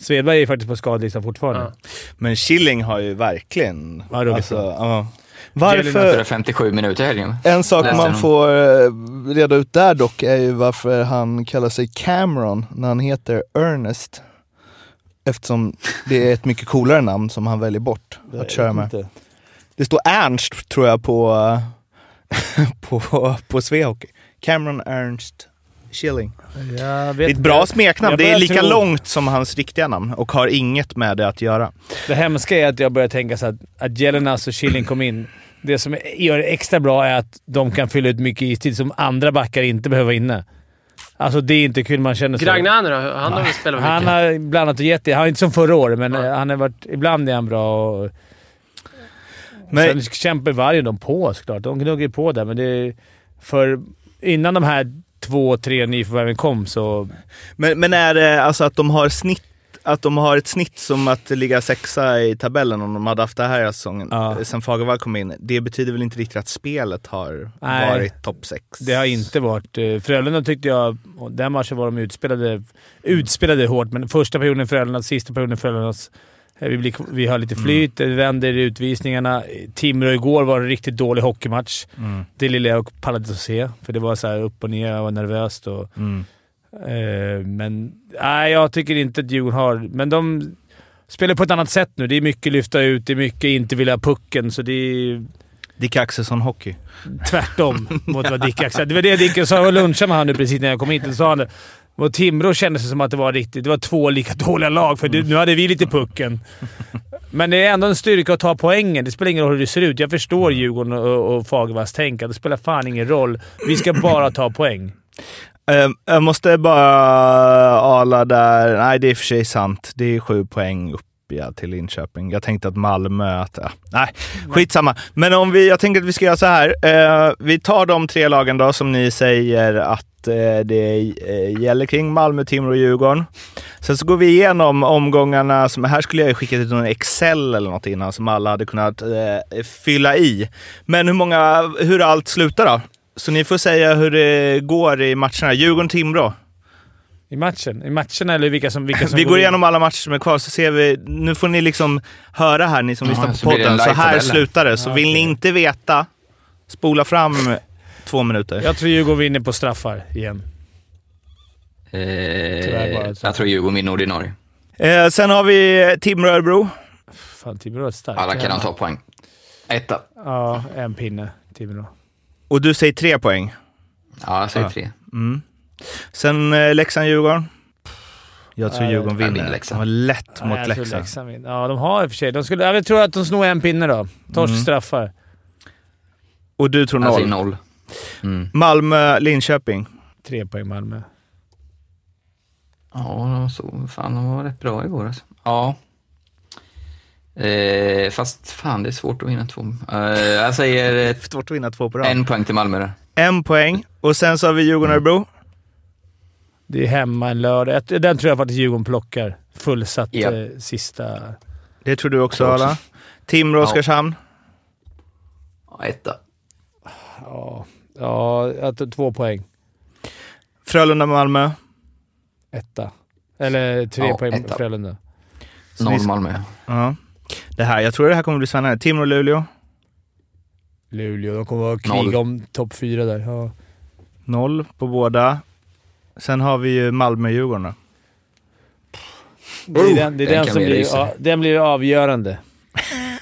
Svedberg är faktiskt på skadelistan fortfarande.
Ja.
Men Schilling har ju verkligen...
Ja, ruggigt
alltså,
bra.
ja.
Varför-
Varför...
57 minuter i helgen.
En sak
Läste
man
någon.
får eh, reda ut där dock är ju varför han kallar sig Cameron när han heter Ernest. Eftersom det är ett mycket coolare namn som han väljer bort att köra med. Det står Ernst tror jag på, eh, på, på Svehockey. Cameron Ernst Schilling.
Jag
Det
vet
är ett bra
inte.
smeknamn.
Jag
Det är
börjar
lika
tro-
långt som hans riktiga namn och har inget med det att göra.
Det hemska är att jag börjar tänka så att, att Jelenas och Killing kom in. Det som gör det extra bra är att de kan fylla ut mycket istid som andra backar inte behöver inne. Alltså det är inte kul. Man känner så.
Gragnani då? Han har väl spelat mycket?
Han har blandat och gett det. Han är inte som förra året, men eh, han har varit, ibland är han bra. Och,
Men,
Sen kämpar varje de på såklart. De gnuggar ju på där, men det är, för innan de här två, tre nyförvärven kom så...
men, men är det alltså att de har snitt att de har ett snitt som att ligga sexa i tabellen om de hade haft det här hela säsongen eh,
Ja.
sen Fagervall kom in. Det betyder väl inte riktigt att spelet har
Nej.
varit topp sex?
Det har inte varit... eh, Frölunda tyckte jag... och Den matchen var de utspelade, utspelade hårt, men första perioden Frölundas, sista perioden Frölundas. eh, Vi, blir, vi har lite flyt, det vänder i utvisningarna. Timrå igår var en riktigt dålig hockeymatch. Det lilla jag pallade att se, för det var så här upp och ner och nervöst. Och, eh, men nej, jag tycker inte att Djurgården har... Men de spelar på ett annat sätt nu. Det är mycket lyfta ut, det är mycket inte vilja ha pucken, så det är
Dick Axelsson-hockey.
tvärtom mot vad Dick Axel... Det var det Dick sa. Jag lunchade med han nu precis när jag kom hit. och sa han det. Och Timrå kändes det som att det var riktigt. Det var två lika dåliga lag, för det, nu hade vi lite pucken. Men det är ändå en styrka att ta poängen. Det spelar ingen roll hur det ser ut. Jag förstår Djurgården och, och Fagervalls tänk. att Det spelar fan ingen roll. Vi ska bara ta poäng.
Eh, Jag måste bara ala där. Nej, det är i och för sig sant. Det är sju poäng upp ja, till Linköping. Jag tänkte att Malmö... Att, ja. Nej, skitsamma. Men om vi, jag tänker att vi ska göra så här. Eh, vi tar de tre lagen då som ni säger att eh, det eh, gäller kring. Malmö, Timrå och Djurgården. Sen så går vi igenom omgångarna. Som, här skulle jag ju skickat ut någon Excel eller något innan som alla hade kunnat eh, fylla i. Men hur, många, hur allt slutar då? Så ni får säga hur det går i matcherna. Djurgården-Timrå.
I matchen. I matcherna eller vilka som... Vilka som
Vi går
in.
igenom alla matcher som är kvar, så ser vi. Nu får ni liksom höra här, ni som
Ja,
lyssnar på
så blir det en
podden. Så här
live-tabell.
slutar det. Så vill ni inte veta, spola fram två minuter.
Jag tror Djurgården vinner på straffar igen.
Eh,
Tyvärr bara, så.
jag tror Djurgården vinner ordinarie.
Eh, sen har vi Timrå-Örebro.
Fan, Timrå är starkt.
Alla kan han ta poäng. Etta.
Ja, en pinne. Timrå.
Och du säger tre poäng.
Ja, jag säger tre.
Sen eh, Leksand-Djurgården. Jag tror Djurgården
jag
vinner.
vinner Leksand.
De var lätt
Nej,
mot
jag tror
Leksand.
Leksand vinner. Ja, de har i och för sig. De skulle, jag tror att de snor en pinne då. Torsk
Mm.
straffar.
Och du tror
Jag säger
noll.
noll.
Malmö-Linköping.
Tre poäng Malmö.
Ja, de var så, fan, de var rätt bra igår alltså. Ja. Eh, fast fan, det är svårt att vinna två. Eh, jag säger eh,
Svårt att vinna två på rad. En,
en poäng till Malmö där.
poäng. Och sen så har vi Djurgården-Örebro.
Det är hemma en lördag. Jag- Den tror jag faktiskt Djurgården plockar. Fullsatt
Ja.
eh, sista.
Det tror du också,
Jag tror också.
Arla. Timrå-Oskarshamn.
Ja, etta.
Ja, ja att, två poäng.
Frölunda-Malmö.
Etta. Eller tre
Ja,
poäng
etta.
på Frölunda.
Så ni-
Noll Malmö.
Ja. Det här, jag tror det här kommer bli spännande. Timrå och Luleå,
Luleå, de kommer att kriga
Noll.
om topp fyra där. Ja.
noll på båda. Sen har vi ju Malmö-Djurgården då.
Det är den, det är
Oh, den
den,
kan
som
bli
blir,
rysare.
ja, den blir avgörande.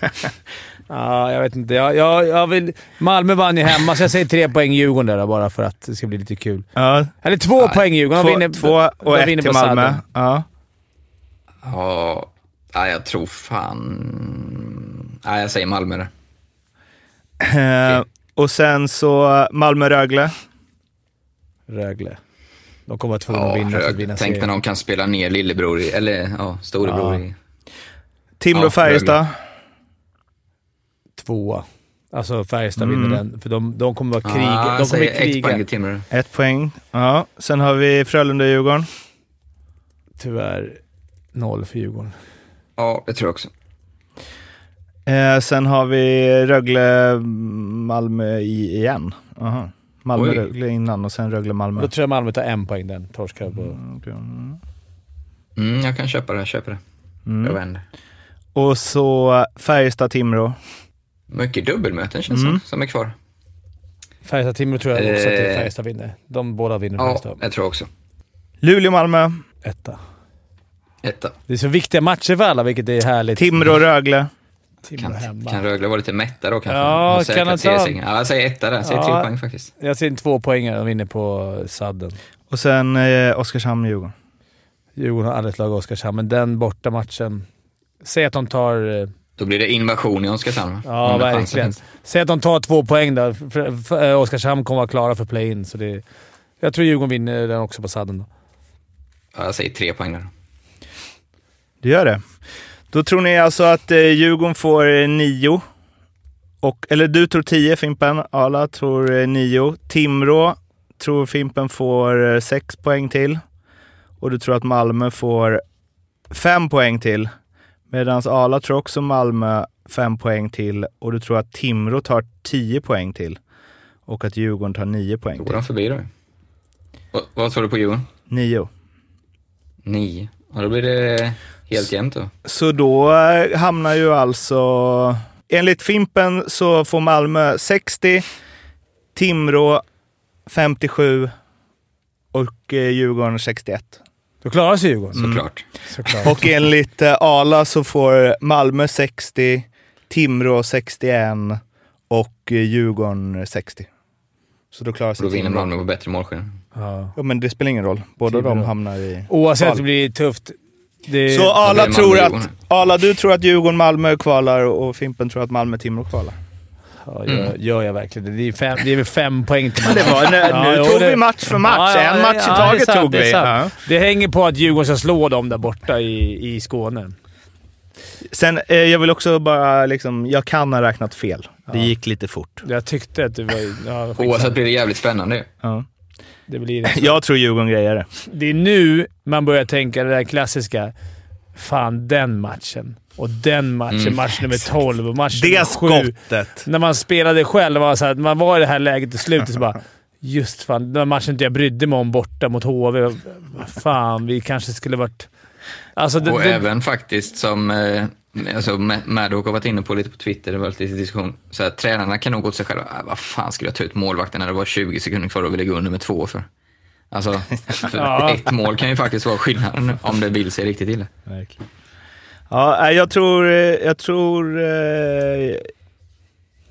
ja, jag vet inte. Jag, jag, jag vill, Malmö vann ju hemma, så jag säger tre poäng Djurgården där då, bara för att det ska bli lite kul.
Ja,
Eller två
Nej,
poäng Djurgården. De
två,
vinner-
två
de
och ett
vinner
till
på
Malmö. Ja.
sadden.
Ja, nej, jag tror fan... Nej, jag säger Malmö där.
Eh, och sen så Malmö-Rögle.
Rögle. De kommer att vara tvungna
Ja,
att vinna för att
Rögle.
vinna
Tänk när
serien.
de kan spela ner lillebror, i, eller ja, storebror.
Ja.
I. Ja,
Timrå-Färjestad.
Tvåa. Alltså Färjestad vinner den, för de, de kommer att vara krig.
Ja, Mm. Ah, jag
de kommer
säger
att
ett poäng
kriga,
till Timrå.
Ett poäng. Ja. Sen har vi Frölunda-Djurgården.
tyvärr. Noll för Djurgården.
Ja, det tror jag också.
Eh, sen har vi Rögle-Malmö i- igen. Aha. Malmö-Rögle innan och sen Rögle-Malmö.
Då tror jag Malmö tar en poäng den. Torskar på...
Mm, jag kan köpa det, jag köper det.
Mm.
Jag vänder.
Och så Färjestad-Timrå.
Mycket dubbelmöten känns det
Mm.
som, som är kvar.
Färjestad-Timrå tror jag också att det är
Eh.
Färjestad vinner. De båda vinner
Ja,
Färjestad.
jag tror också.
Luleå-Malmö.
Etta.
Etta.
Det är så viktiga matcher för alla, vilket är härligt.
Timrå-Rögle.
Timrå
Kan,
hemma.
kan Rögle vara lite mätta då kanske?
Ja,
Har säkrat
kan han
tre
ta-
segrar. Ja, jag säger etta där. Jag säger
Ja.
tre poäng faktiskt.
Jag ser en tvåpoängare. De vinner på sadden.
Och sen eh, Oskarshamn-Djurgården.
Djurgården har aldrig slagit Oskarshamn, men den borta matchen Säg att de tar... eh,
Då blir det invasion i Oskarshamn va?
Ja,
Om det fanns
verkligen.
en-
Säg att de tar två poäng där. För- för- eh, Oskarshamn kommer vara klara för play-in, så det... Jag tror Djurgården vinner den också på sadden då.
Ja, jag säger tre poäng där.
Det gör det. Då tror ni alltså att eh, Djurgården får eh, nio. Och, eller du tror tio Fimpen, Arla tror eh, nio. Timrå tror Fimpen får eh, sex poäng till. Och du tror att Malmö får fem poäng till. Medan Arla tror också Malmö fem poäng till. Och du tror att Timrå tar tio poäng till. Och att Djurgården tar nio poäng
Går
till.
de förbi då? Vad- Vad sa du på Djurgården?
Nio.
Nio. Ja, då blir det helt jämnt då.
Så då eh, hamnar ju alltså... Enligt Fimpen så får Malmö 60, Timrå 57 och eh, Djurgården 61.
Då klarar sig Djurgården.
Såklart.
Såklart.
Och enligt eh, Arla så får Malmö 60, Timrå 61 och eh, Djurgården 60. Så då klarar
Och
sig
då vinner
Timrå.
Malmö på bättre målskillnad.
Ja.
Ja, men det spelar ingen roll. Båda de
Timrå.
hamnar i...
Oavsett,
Kval.
det blir tufft. Det...
Så alla
blir
tror
Malmö-Djurgården.
att... Arla, du tror att Djurgården-Malmö kvalar och Fimpen tror att Malmö-Timrå kvalar.
Ja, gör,
Mm.
gör jag verkligen det? Det är, fem, det är väl fem poäng till
Det var, nu nu
jo,
tog
det-
vi match för match.
Ja, ja,
en match
ja,
i
det är
taget
sant,
tog
det är
vi.
sant. Det hänger på att Djurgården ska slå dem där borta i, i Skåne.
Ja. Sen, eh, jag vill också bara liksom, jag kan ha räknat fel. Det gick lite fort.
Jag tyckte att det var... Ja,
Oavsett
skitsamma.
blir det jävligt spännande ju.
Ja.
det blir det.
Jag tror Djurgården grejer det.
Det är nu man börjar tänka det där klassiska. Fan, den matchen. Och den matchen.
Mm.
Match nummer 12 och match nummer
Det
7.
skottet.
När man spelade själv var så här, man var i det här läget i slutet så bara... Just fan, den här matchen inte jag brydde mig om borta mot HV. Fan, vi kanske skulle varit... Alltså, det,
Och
det,
även faktiskt som eh, alltså, Ma- Maddock har varit inne på lite på Twitter, det var lite diskussion. Så här, tränarna kan nog gå till sig själva, "Ah, vad fan skulle jag ta ut målvakten när det var 20 sekunder kvar och ville gå under med två för? Alltså, för
Ja.
ett mål kan ju faktiskt vara skillnaden om det vill sig riktigt illa.
Ja, nej, jag tror... eh, Jag tror... Eh,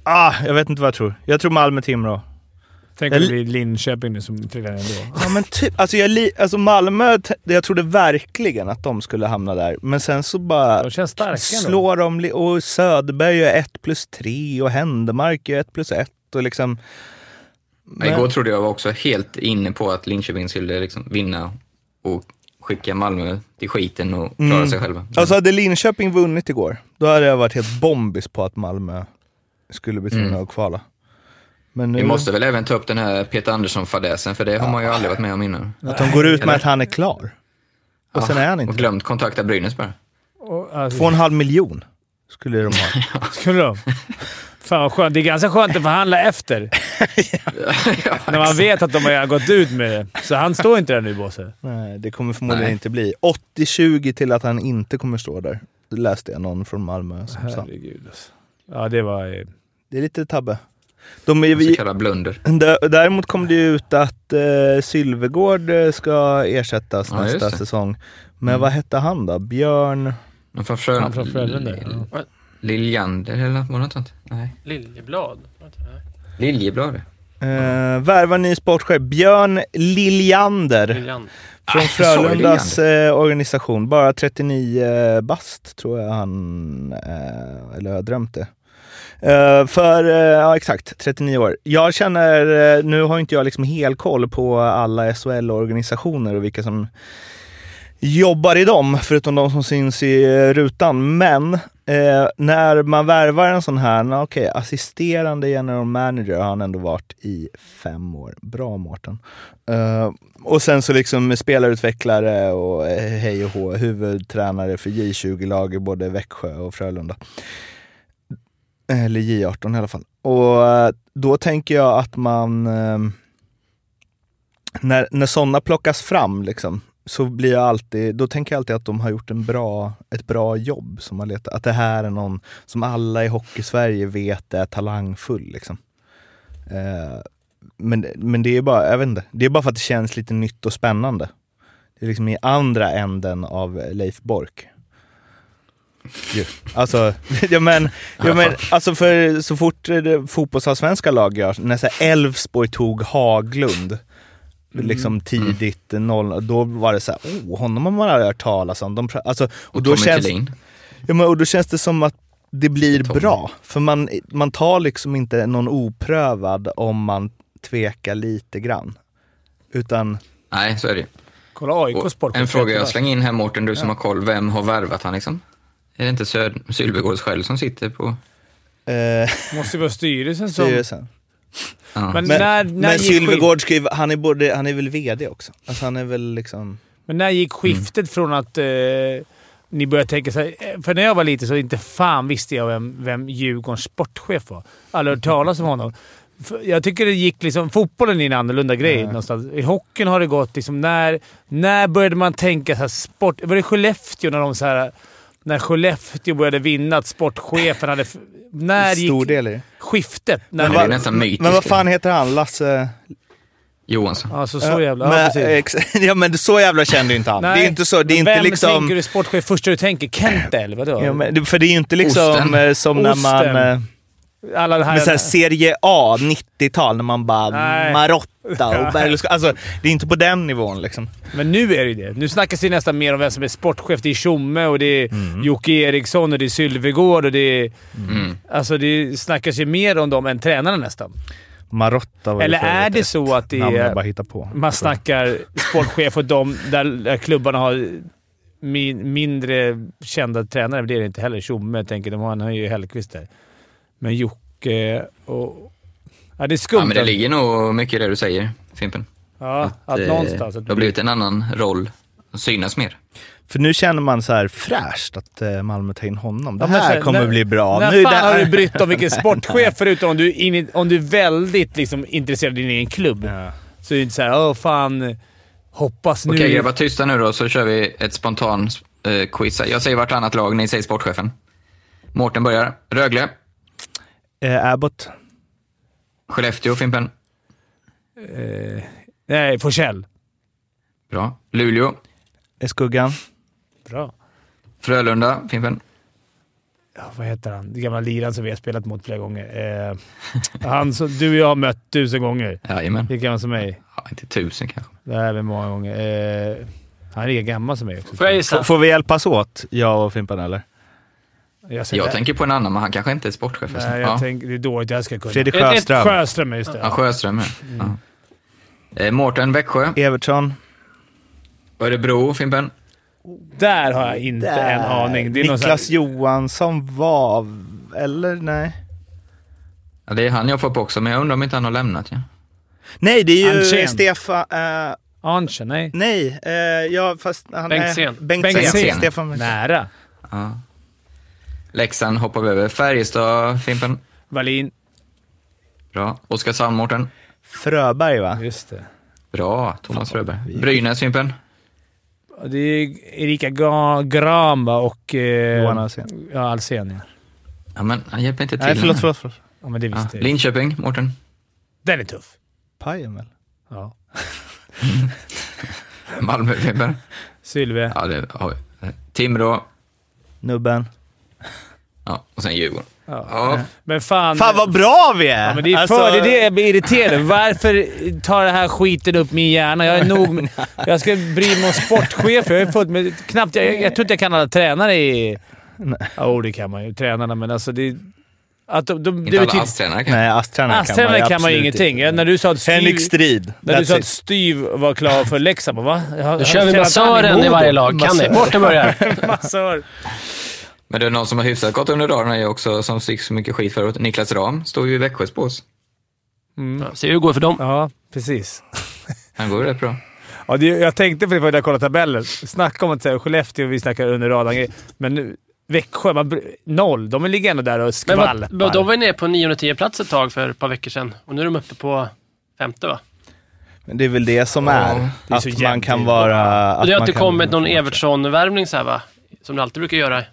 ah, jag vet inte vad jag tror. Jag tror Malmö-Timrå.
Tänk om det blir Linköping nu som trillar ner ändå.
Ja, men typ. Alltså, jag, li- alltså Malmö, t- jag trodde verkligen att de skulle hamna där. Men sen så bara...
De känns starka ändå.
slår de li- och Söderberg är 1 plus 3 och Händemark är 1 plus 1 och liksom...
Men... Igår trodde jag var också helt inne på att Linköping skulle liksom vinna och skicka Malmö till skiten och klara sig själva.
Alltså hade Linköping vunnit igår, då hade jag varit helt bombis på att Malmö skulle bli tvungna att kvala. Men nu,
Mm. Vi måste väl även ta upp den här Peter Andersson-fadäsen, för det har man ju aldrig varit med om innan.
att de går ut med att han är klar. Och sen är han
Ah, Och
inte
glömt kontakta Brynäs bara.
Och, alltså,
Två och en halv miljon skulle de ha.
Skulle de? Fan vad skönt. Det är ganska skönt att förhandla efter. När man vet att de har redan gått ut med det. Så han står inte där nu, Bosse.
Nej, det kommer förmodligen
Nej.
inte bli. 80-20 till att han inte kommer stå där. Det läste jag någon från Malmö som sa.
Herregud alltså. Ja, det var... eh,
Det är lite tabbe. De är,
Så
vi,
kallad blunder.
dä- däremot kom det ju ut att eh, Sylvegård eh, ska ersättas
Ja, just
nästa
det. Mm.
säsong. Men vad hette han då? Björn...
Men Från Frölunda?
Han från Frölunda, ja.
Vad?
Liljander eller var det något sånt? Nej.
Liljeblad?
Liljeblad.
Eh, värva ny sportchef. Björn Liljander.
Liljan.
Från
Ah,
Frölundas eh, organisation. Bara 39 bast tror jag han... Eh, eller har jag drömt det? Eh, för, eh, ja exakt, 39 år. Jag känner, eh, nu har inte jag liksom helkoll på alla SHL-organisationer och vilka som jobbar i dem, förutom de som syns i eh, rutan. Men eh, när man värvar en sån här, na, okej, assisterande general manager har han ändå varit i fem år. Bra Mårten. Eh, och sen så liksom spelarutvecklare och eh, hej och hå, huvudtränare för J20-lag i både Växjö och Frölunda. Eller J18 i alla fall. Och eh, då tänker jag att man... ehm, när, när sådana plockas fram liksom, så blir jag alltid, då tänker jag alltid att de har gjort en bra, ett bra jobb. Som har letat, att det här är någon som alla i Hockeysverige vet är talangfull. Liksom. Eh, men, men det är bara, jag vet inte, det är bara för att det känns lite nytt och spännande. Det är liksom i andra änden av Leif Bork. Ju. Alltså, ja men, ja, men alltså för så fort det fotbollsallsvenska lag görs, när så här Elfsborg tog Haglund, liksom tidigt, noll, då var det så här, oh, honom har man aldrig hört talas om. De, pra- alltså, och,
Och
då
Tommy
känns,
Thelin.
Ja, men, och då känns det som att det blir
Tommy.
bra. För man, man tar liksom inte någon oprövad om man tvekar lite grann. Utan,
Nej, så är det ju.
Kolla AIKs
Och
sportchef.
En fråga jag
heter
slänger in här Mårten, du som har koll. Vem har värvat han liksom? Är det inte Söd- Sylvegårds själv som sitter på...
eh,
det. Måste ju vara styrelsen som...
styrelsen.
Ja.
Men,
Men,
när, när
men
gick skift-
Sylvegård skriver, han är, både, han är väl VD också? Alltså han är väl liksom...
men när gick skiftet från att eh, ni började tänka så här, eh, För när jag var liten så inte fan visste jag vem, vem Djurgårdens sportchef var. Aldrig hört talas om honom. För Jag tycker det gick liksom... Fotbollen är en annorlunda grej någonstans. I hockeyn har det gått liksom... När, när började man tänka så här sport... Var det Skellefteå när de så här... När Skellefteå började vinna, att sportchefen hade... f- När
Stor
gick
del i det.
skiftet? När
Men
det-
vad- Det är nästan mytiskt.
Men vad fan heter han? Lasse...
Johansson.
Alltså så jävla...
men,
ja, precis.
ex- ja men så jävla kände ju inte han. det är inte så, det är inte
men vem
liksom...
tänker du sportchef första du tänker? Kente eller vadå?
Ja, men, det- för det är ju inte liksom
Osten.
eh, som när
Osten.
man... Eh,
Alla det här...
Men såhär serie A 90-tal när man bara
Nej.
Marotta och Berlusconi. Alltså, det är inte på den nivån liksom.
Men nu är det ju det. Nu snackas det nästan mer om vem som är sportchef. Det är Tjomme och det är
Mm.
Jocke Eriksson och det är Sylvegård och det är... Alltså det snackas ju mer om dem än tränarna nästan.
Marotta var ju
Eller
för
är
övrigt
det
ett
så att det
namn jag bara
är...
hittar på.
Man snackar sportchef och de där, där klubbarna har min, mindre kända tränare. Det är det inte heller. Tjomme, jag tänker de har, han har ju Hellqvist där. Men Jocke och... Ja, det är skumt.
Ja, men det
att-
ligger nog mycket i det du säger, Fimpen.
Ja, att,
eh,
någonstans... Att
det har blivit en annan roll. Att synas mer.
För nu känner man så här fräscht att eh, Malmö tar in honom. Det
Ja, men
här
så-
kommer
när-
bli bra.
När
Nu,
fan
det här-
har du brytt dig om vilken sportchef förutom om du, är in, om du är väldigt liksom, intresserad av din egen klubb? Så är det inte såhär åh fan, hoppas nu...
Okej grabbar, tysta nu då så kör vi ett spontan eh, quiz. här. Jag säger vartannat lag, ni säger sportchefen. Mårten börjar. Rögle,
Eh, Abbott.
Skellefteå, Fimpen.
eh, nej, Forsell.
Bra. Luleå,
Eh, Skuggan.
Bra.
Frölunda, Fimpen.
Ja, vad heter han? Den gamla liraren som vi har spelat mot flera gånger. Eh, han som du och jag har mött tusen gånger.
Jajamän.
Lika gammal som mig.
Ja, inte tusen kanske.
Det här är väl många gånger. Eh, han är lika gammal som mig också.
Får jag
F-
gissa?
får vi hjälpas åt, jag och Fimpen eller?
Jag, säger
Jag
det.
tänker på en annan, men han kanske inte är sportchef. alltså.
Nej, jag
ja.
tänker, det är dåligt. Jag ska kunna.
Fredrik
Ett- ett-
Sjöström.
Sjöström, just det.
ja, Sjöström är det. ja. eh, Mårten, Växjö.
E- Evertsson.
Örebro, Fimpen.
Där har jag inte en aning. Det är någon sån här-
Niklas Johansson var... Eller? Nej.
Ja, det är han jag får upp också, men jag undrar om inte han har lämnat. Ja.
Nej, det är ju
Andrén.
Stefan... eh,
Anche, nej.
Nej, eh, ja, fast han
Bengtzén.
är... Bengtzén.
Bengtzén.
Stefan Bengtzén.
Nära.
Ja. Leksand hoppar vi över. Färjestad, Fimpen.
Wallin.
Bra. Oskarshamn, Mårten.
Fröberg va?
Just det.
Bra, Thomas Fröberg. Brynäs, Fimpen.
Och Det är Erika Ga- Grahn va, och... Eh,
Johan Alsén.
Ja, Alsén ja.
Ja, men han hjälper inte till.
Nej, förlåt, förlåt. förlåt.
ja men det
Ja.
visste jag.
Linköping, Mårten.
Den är tuff.
Pajen väl?
Ja.
Malmö, Fimpen.
Sylve.
Ja, det har vi. Eh, Timrå.
Nubben.
Ja, och sen Djurgården.
Ja.
Ja,
Men fan...
Fan vad bra vi är!
Ja, men det är
Alltså-
för det är det jag blir irriterad över. Varför tar den här skiten upp min hjärna? Jag är nog... Jag ska bry mig om sportchefer. Jag är fullt med... Knappt... Jag, jag tror inte jag kan alla tränare i... Ja, oh, det kan man ju. Tränarna, men alltså det... Att de, de,
inte
det
alla
betyder-
ASS-tränare kanske.
Nej, ASS-tränare kan man
Astrarna
ju
kan man ju
absolut
ingenting.
inte.
Ja, När du sa att
Henrik
Strid,
Strid.
när du sa
That's
att
it.
Styv var klar för Leksand, bara, va?
Då kör vi massören i varje lag. Kan ni? Bort och börja. Mm.
Massör.
Men det är någon som har hyfsat gått under radarn är ju också, som fick så mycket skit förut. Niklas Ram står ju i Växjös bås.
Se hur det går för dem.
Ja, precis.
Han går ju rätt bra.
Ja, det, jag tänkte på det när jag kollade tabellen. Snacka om att säga Skellefteå, vi snackar under radarn Men nu, Växjö, man, br- noll. De ligger ändå där och
Men vad-
skvalpar.
de var ju nere på 9-10 plats ett tag för ett par veckor sedan. Och nu är de uppe på femte, va?
Men det är väl det som
Ja,
är.
det är så
att man
jämnt
kan
i-
vara...
Och det har
man
inte
kan-
kommit någon e- Evertsson-värvning så här, va? Som det alltid brukar göra. i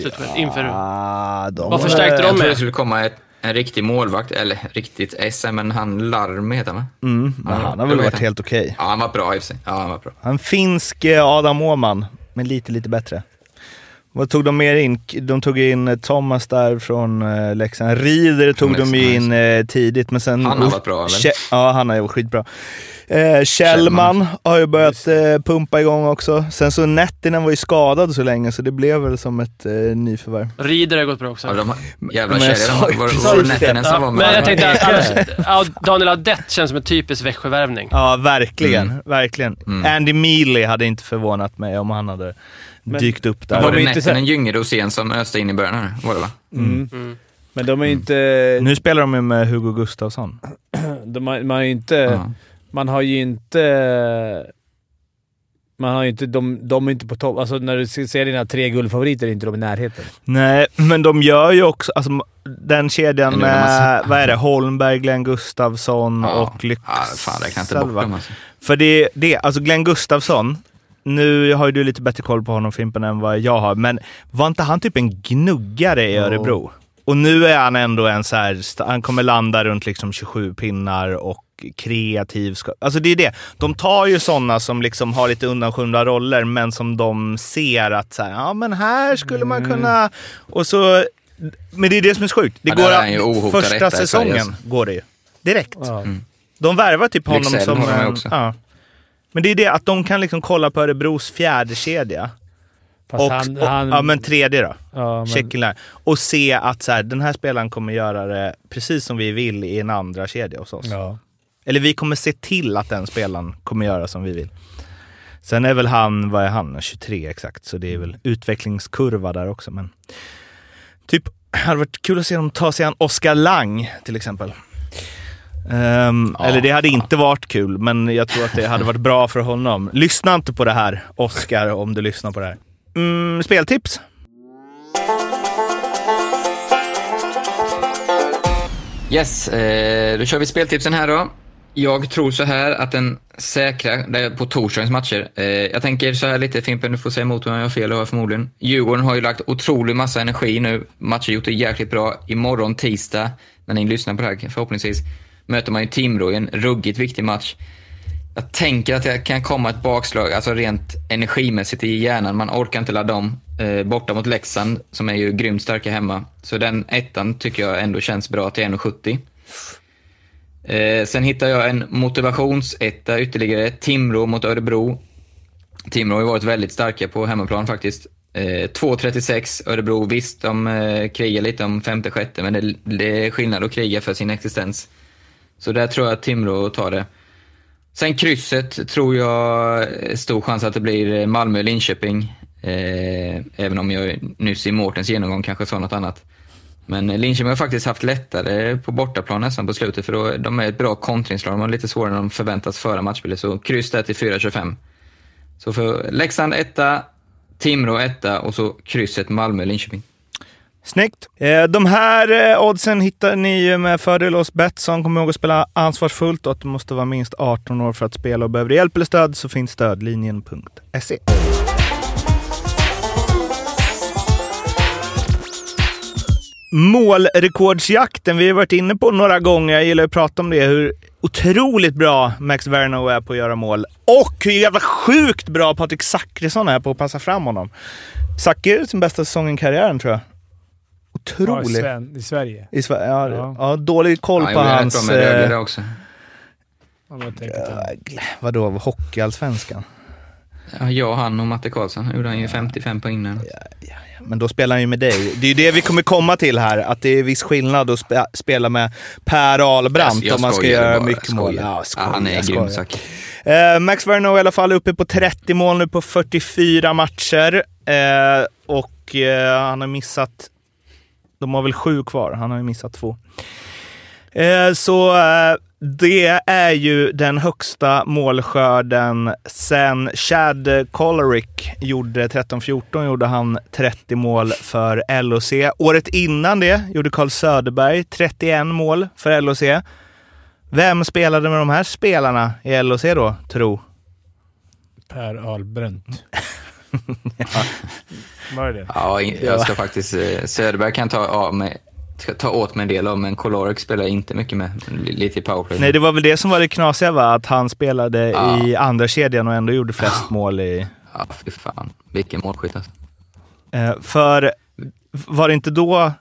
slutspelet Inför...
Ah, de
Vad förstärkte de
Jag tror det
med?
skulle komma ett, en riktig målvakt, eller riktigt SM, men han Larm heter han va?
Mm, men han har väl
det vet
varit
jag.
helt okej.
Ja, han var bra i och för sig. Ja, han var bra.
Han finsk eh, Adam Åhman, men lite, lite bättre. Vad tog de mer in? K- De tog in eh, Thomas där från eh, Leksand. Rieder tog
Leksand,
de ju in eh, tidigt, men sen...
Han har varit bra, väl?
Kä- ja, han har ju varit skitbra. Eh, Kjellman
Kjellman.
har ju börjat eh, pumpa igång också. Sen så Nettinen var ju skadad så länge, så det blev väl som ett eh, nyförvärv.
Rieder har gått bra också.
Ja, de, jävla
Men jag
kedja de
sa
har.
ju
Var,
precis
var det
det.
Nättinen
Ja,
som var med?
men jag tänkte att annars, ja, Daniel Adet känns som en typisk Växjövärvning.
Ja, verkligen. Verkligen.
Mm.
Andy Mealy hade inte förvånat mig om han hade dykt upp där.
var
de är
det
inte så-
Nättinen, Gyngerosen som öste in i början här? Var det va?
Mm.
Mm.
Men de är inte...
Nu spelar de ju med Hugo Gustafsson.
De har, man har ju inte...
Ja.
Man har ju inte... Man har ju inte... De, de är inte på topp. Alltså när du ser dina tre guldfavoriter är inte de i närheten.
Nej, men de gör ju också... Alltså, den kedjan
Men nu när man
med,
ser-
vad är det, Holmberg, Glenn Gustafsson
Ja.
och Lyxell.
Ja, fan, räkna inte bort
va?
dem alltså.
För det, det, alltså Glenn Gustafsson, nu har ju du lite bättre koll på honom Fimpen än vad jag har, men var inte han typ en gnuggare i
Jo.
Örebro? Och nu är han ändå en så här, st- han kommer landa runt liksom 27 pinnar och kreativ. ska- Alltså det är det. De tar ju sådana som liksom har lite undanskymda roller, men som de ser att så här, ja men här skulle
Mm.
man kunna... Och så... Men det är det som är så sjukt. Det
Ja, där
går
är han ju ohotad
första
etta i Sverige,
säsongen
alltså. går
går det ju. Direkt.
Ja.
De värvar typ honom
Lyxzell
som...
har de ju
en-
också.
Ja. Men det är det att de kan liksom kolla på Örebros fjärde kedja
Fast
och,
han...
och,
han
ja, men tredje då.
ja, men-
Checken där. Och se att så här, den här spelaren kommer göra det precis som vi vill i en andra kedja hos oss.
ja.
Eller vi kommer se till att den spelaren kommer göra som vi vill. Sen är väl han, vad är han, 23 exakt, så det är väl utvecklingskurva där också. Men typ, hade varit kul att se dem ta sig an Oskar Lang till exempel. Ehm, Eller det hade inte varit kul, men jag tror att det hade varit bra för honom. Lyssna inte på det här, Oskar, om du lyssnar på det här. Mm, speltips?
Yes, eh, då kör vi speltipsen här då. Jag tror så här att den säkra, det är på torsdagens matcher. Eh, jag tänker så här lite, Fimpen, du får säga emot mig om jag har fel, det har jag förmodligen. Djurgården har ju lagt otrolig massa energi nu. Matcher gjort det jäkligt bra. Imorgon tisdag, när ni lyssnar på det här förhoppningsvis, möter man ju Timrå i en ruggigt viktig match. Jag tänker att det kan komma ett bakslag, alltså rent energimässigt i hjärnan. Man orkar inte ladda om. Eh, borta mot Leksand, som är ju grymt starka hemma. Så den ettan tycker jag ändå känns bra till 1,70. Eh, sen hittar jag en motivationsetta ytterligare. Timrå mot Örebro. Timrå har ju varit väldigt starka på hemmaplan faktiskt. Eh, 2.36 Örebro. Visst, de eh, krigar lite om femte, sjätte, men det, det är skillnad att kriga för sin existens. Så där tror jag att Timrå tar det. Sen krysset tror jag är stor chans att det blir Malmö-Linköping. Eh, även om jag nyss i Mårtens genomgång kanske sa något annat. Men Linköping har faktiskt haft lättare på bortaplan nästan på slutet för då, de är ett bra kontringslag. De har lite svårare än de förväntas föra matchbilden. Så kryss där till 4.25. Så för Leksand etta, Timrå etta och så krysset Malmö-Linköping.
Snyggt! Eh, De här eh, oddsen hittar ni ju med fördel hos Betsson. Kom ihåg att spela ansvarsfullt och att du måste vara minst 18 år för att spela och behöver du hjälp eller stöd så finns stödlinjen.se. Målrekordsjakten, vi har varit inne på några gånger, jag gillar att prata om det, hur otroligt bra Max Verno är på att göra mål. Och hur jävla sjukt bra Patrik Zackrisson är på att passa fram honom. Zacke är sin bästa säsong i karriären tror jag.
Ja, i
Otrolig.
Sven- I Sverige.
I Sverige? Ja, ja.
Ja.
dålig koll
Ja,
på
jag blev
hans...
rätt bra med
eh,
Rögle där också.
Om jag tänker på det.
vadå, hockeyallsvenskan?
Ja, jag, han och Matte Karlsson gjorde han ju 55 poäng där.
Men då spelar han ju med dig. Det är ju det vi kommer komma till här, att det är viss skillnad att spe spela med Per Ahlbrandt
Jag
om man ska
skojar
göra
bara,
mycket
skojar.
mål. Ja,
Ja,
skojar,
han är
skojar.
grym Zack.
Eh, Max Verno i alla fall uppe på 30 mål nu på 44 matcher. Eh, och eh, han har missat... De har väl sju kvar. Han har ju missat två. Eh, så eh, det är ju den högsta målskörden sen Chad Colerick gjorde 13-14. gjorde han 30 mål för LOC. Året innan det gjorde Carl Söderberg 31 mål för LOC. Vem spelade med de här spelarna i LOC då, tro?
Per Ahlbrönt. Var det det?
Ja, in- jag ska faktiskt... eh, Söderberg kan ta av mig... ska Ta åt mig en del av, men Kolorek spelar jag inte mycket med. L- Lite i powerplay.
Nej, det var väl det som var det knasiga va? Att han spelade
Ja.
i andra kedjan och ändå gjorde flest mål i...
Ja, fy fan. Vilken målskytt alltså.
Eh, för var det inte då...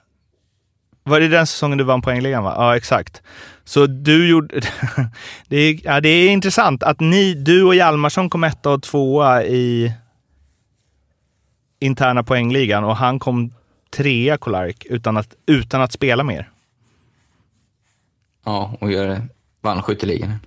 Var det den säsongen du vann poängligan va? Ja, exakt. Så du gjorde... det, är, ja, det är intressant att ni, du och Hjalmarsson kom etta och tvåa i interna poängligan och han kom trea, Kolark, utan att, utan att spela mer.
Ja, och gör, vann skytteligan.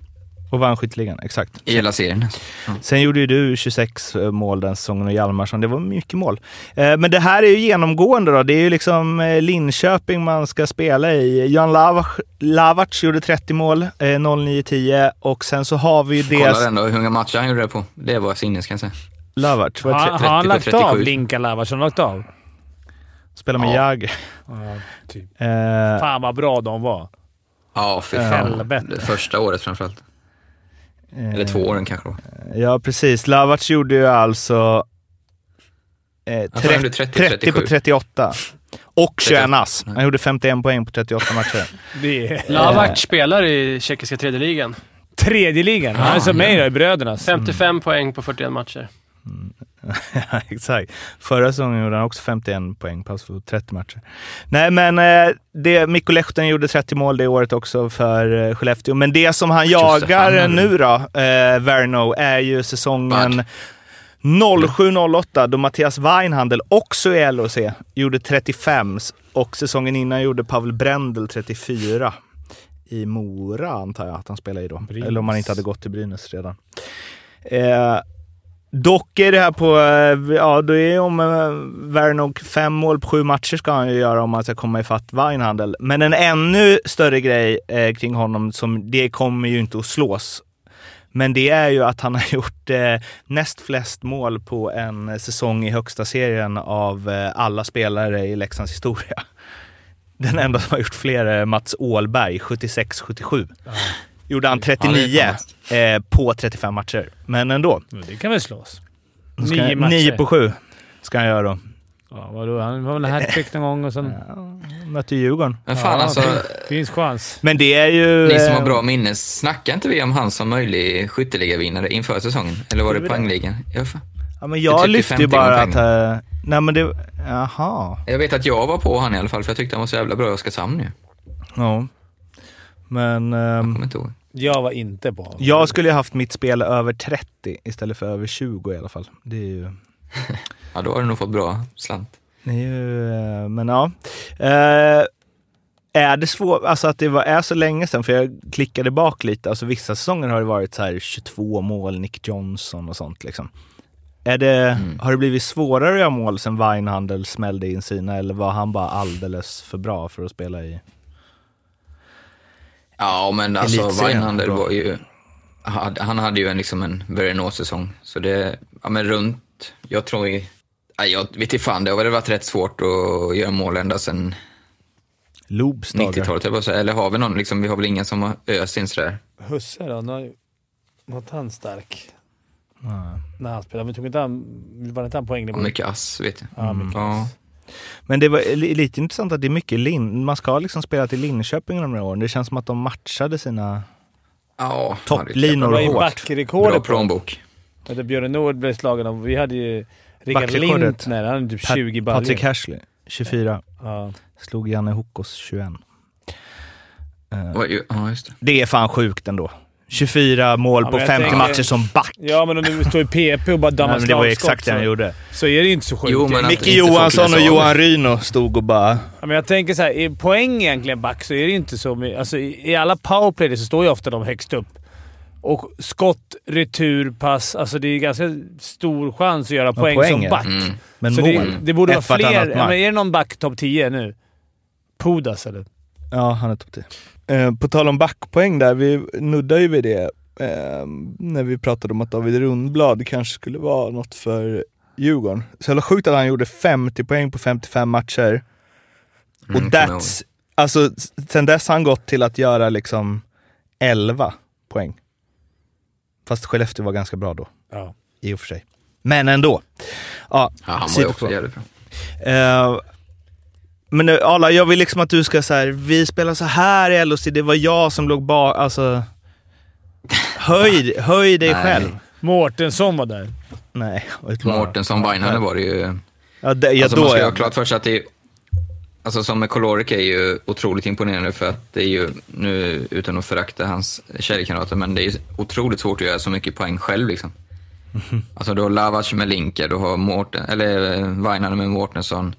Och vann skytteligan, exakt.
I hela serien. alltså.
Sen gjorde ju du 26 mål den säsongen och Hjalmarsson. Det var mycket mål. Eh, Men det här är ju genomgående då. Det är ju liksom eh, Linköping man ska spela i. Jan Lavac, Lavac gjorde 30 mål, eh, 09-10 och sen så har vi ju
Kolla
det...
ändå hur många matcher han gjorde det på. Det var sinnes kan jag säga.
Lavac, var det
Har
tre...
han, har han
30 på
lagt av
37?
Linka Lavarsson? lagt av?
spelar med
Ja.
Jagr.
Ja, typ.
Eh,
Fan vad bra de var.
Ja, fy fan.
Helvete.
Det första året framförallt. Eller två åren kanske. då.
Ja, precis. Lavac gjorde ju alltså... Eh,
Han gjorde
30,
30,
30 på 38. Och 21 ass. Han gjorde 51 poäng på 38 matcher.
Det är
Lavac spelar i tjeckiska tredje ligan.
tredje ligan. Han är som mig då, i Brödernas.
55 poäng på 41 matcher.
Ja, exakt. Förra säsongen gjorde han också 51 poäng på alltså 30 matcher. Nej, men eh, det, Mikko Lehtonen gjorde 30 mål det året också för eh, Skellefteå. Men det som han jagar
han är-
nu då, eh, Verno, är ju säsongen
Vart?
07-08 då Mattias Weinhandel, också i LHC, gjorde 35 och säsongen innan gjorde Pavel Brendel 34 i Mora, antar jag att han spelade i då.
Brynäs.
Eller om han inte hade gått till Brynäs redan. Eh, dock är det här på... Eh, ja, då är om eh, Vernog fem mål på sju matcher ska han ju göra om han ska komma ifatt Weinhandel. Men en ännu större grej eh, kring honom, som det kommer ju inte att slås. Men det är ju att han har gjort eh, näst flest mål på en säsong i högsta serien av eh, alla spelare i Leksands historia. Den enda som har gjort fler är Mats Åhlberg, 76-77.
Ah.
Gjorde han 39 eh, på 35 matcher. Men ändå.
Men Det kan väl slås.
Ska-
Nio matcher.
nio på 7 ska han göra då.
Ja, vadå? Han var väl hattrick någon gång och sen...
Mötte Djurgården.
Men fan
Ja,
alltså.
fin- Finns chans.
Men det är ju...
Ni som har
eh,
bra minne, snackade inte vi om han som möjlig skytteligavinnare inför säsongen? Eller var det poängligan? Jag, fa-
Ja, men
det
jag
tycker
lyfte ju
50
bara att...
någonting.
eh, nej men det... Jaha.
jag vet att jag var på han i alla fall, för jag tyckte han var så jävla bra i Oskarshamn nu.
Ja. Men...
Jag
ehm,
kommer inte ihåg.
Jag var inte på honom.
jag skulle ju haft mitt spel över 30 istället för över 20 i alla fall. Det är ju...
Ja, då har du nog fått bra slant.
Det är ju, eh, men ja. Eh, är det svårt, alltså att det var, är så länge sedan, för jag klickade bak lite, alltså vissa säsonger har det varit så här 22 mål, Nick Johnson och sånt liksom. Är det, Har det blivit svårare att göra mål sen Weinhandel smällde in sina eller var han bara alldeles för bra för att spela i?
Ja, men alltså
Elitserien,
Weinhandel
bra.
var ju... hade- Han hade ju en, liksom en Verenå-säsong. Så det, ja men runt, jag tror i Nej, jag vet inte fan, det har väl varit rätt svårt att göra mål ända sedan
Loobs dagar.
90-talet, höll jag på att säga. Eller har vi någon, liksom, vi har väl ingen som har öst in sådär.
Husse då? Nu har ju- Var inte han stark? När han spelade. Men tog inte han, var inte han poängnivå?
Och mycket ass, vet jag.
Ja, mycket
Ja.
Men det var li- lite intressant att det är mycket Lin. Man ska ha liksom spelat i Linköping de här åren. Det känns som att de matchade sina
ja
topplinor
Vad är
hårt.
Bra
backrekordet på?
plånbok.
Att Björn Nord blev slagen av... Vi hade ju Rickard
Backrekordet.
Lintner. Han hade typ
Pat-
20
Patrik
baljor.
Hashley, 24.
Ja.
Slog Janne Hokos 21. Eh,
Vad- Ja, just det.
Det är fan sjukt ändå. 24 mål på
Ja, men jag
50
tänker-
matcher som back.
ja, men om du står i PP och bara dammar
Nej, men det var ju
slagskott
exakt det han
så,
gjorde.
så är det ju inte så sjukt.
Jo, men att
Micke
inte folk
Johansson
läser
och
av
Johan Ryno stod och bara...
Ja, men jag tänker så här, i poäng egentligen back så är det ju inte så mycket. Alltså, I i alla powerplay så står ju ofta de högst upp. Och skott, retur, pass. Alltså det är ju ganska stor chans att göra poäng,
poäng,
som
ja.
back.
Mm.
Men
så
mål.
det, det borde vara
Ett vartannat
fler. Ja,
match.
men är det någon back topp 10 nu? Pudas eller?
Ja, han är topp 10.
Eh, på tal om backpoäng där, vi nuddar ju vid det eh, när vi pratade om att David Rundblad kanske skulle vara något för Djurgården. Så jävla sjukt att han gjorde 50 poäng på 55 matcher.
Mm,
och
kommer jag
that's... Alltså, s- sen dess har han gått till att göra liksom 11 poäng. Fast Skellefteå var ganska bra då,
Ja.
i och för sig. Men ändå. Ja,
Ja, han var ju
sidospår.
också jävligt bra.
Eh, men eh, Arla, jag vill liksom att du ska så här, vi spelar så här i LHC, det var jag som låg bak. Alltså, höj, höj dig
Nej.
själv.
Mårtensson var där.
Nej, och ett lag.
Mårtensson, Weinhalle var det ju.
Ja, det, ja,
alltså,
då
man ska
är
ha klart för sig att det är, alltså som med Coloric är ju otroligt imponerande för att det är ju, nu utan att förakta hans kedjekamrater, men det är ju otroligt svårt att göra så mycket poäng själv liksom. Alltså du har Lavac med Linka, du har Mårten, eller eh, Vainhalle med Mårtensson,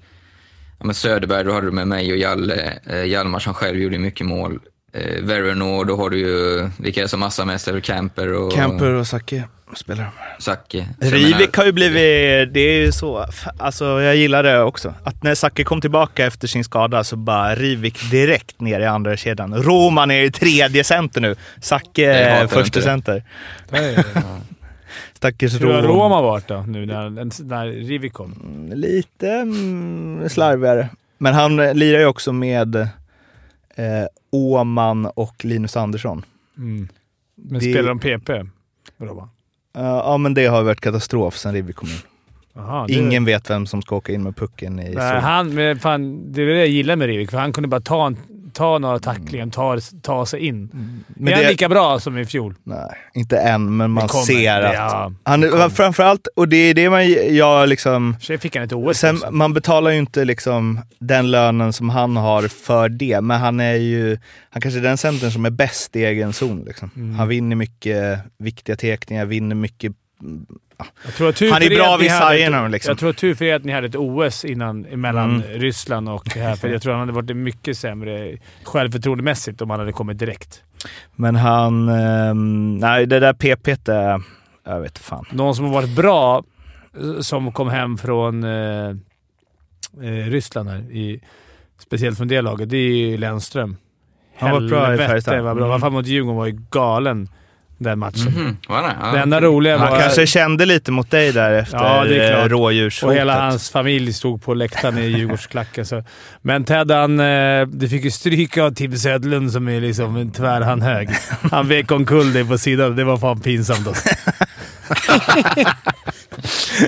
ja, med Söderberg, då hade du med mig och Jalle, eh, Hjalmar som själv gjorde mycket mål. Eh, Verrenor, då har du ju, vilka är det som massamästare? Camper och
Camper och Zacke spelar de.
Sacke. Så jag menar-
Rivik har ju blivit, det är ju så, fa- alltså jag gillar det också. Att när Zacke kom tillbaka efter sin skada så bara Rivik direkt ner i andra kedjan. Roman är ju tredje center nu. Zacke
Jag hatar
är
inte
första
det.
center. Stackars
Hur har
Roman.
Roma varit då, nu när, när Rivi kom?
Lite mm, slarvigare. Men han eh, lirar ju också med eh, Åman och Linus Andersson.
Men
Det-
spelar de PP? Roma?
Eh, ja, men det har varit katastrof sen Rivik kom in.
Aha, det-
Ingen vet vem som ska åka in med pucken i
Nej,
zon.
han, men fan, det är det jag gillar med Rivik, för han kunde bara ta, en, ta några tacklingar och ta, ta sig in.
Mm. Men
är han
det-
lika bra som i fjol?
Nej, inte än, men man
kommer.
ser att...
Ja,
Han, framförallt, och det är det man, jag liksom...
för sig fick han ett OS
Sen,
också.
man betalar ju inte liksom den lönen som han har för det, men han är ju han kanske är den centern som är bäst i egen zon. Liksom.
Mm.
Han vinner mycket viktiga teckningar, vinner mycket...
Jag tror att tur
han är
för er
bra
att ni
vid
hade ett-
sargerna, liksom. Mm.
Jag tror att tur för er att ni hade ett OS innan, mellan Ryssland och det här, för jag tror han hade varit mycket sämre självförtroendemässigt om han hade kommit direkt.
Men han... ehm, nej, det där PP't är... Jag vet fan.
Någon som har varit bra, eh, som kom hem från eh, eh, Ryssland här, i, speciellt från det laget, det är ju Lennström.
Han var bra i
Helvete
Färjestad.
vad bra.
Mm.
Fan mot Djurgården var ju galen den matchen.
Mhm, var det? Ja.
Det enda roliga
Han
var...
kanske kände lite mot dig där efter
Ja, det är klart.
eh,
Och
rådjurshotet.
hela hans familj stod på läktaren i Djurgårdsklacken. Så. Men Ted, han, eh, du fick ju stryka av Tim Södlund som är liksom en tvärhan hög. Han vek omkull dig på sidan. Det var fan pinsamt alltså.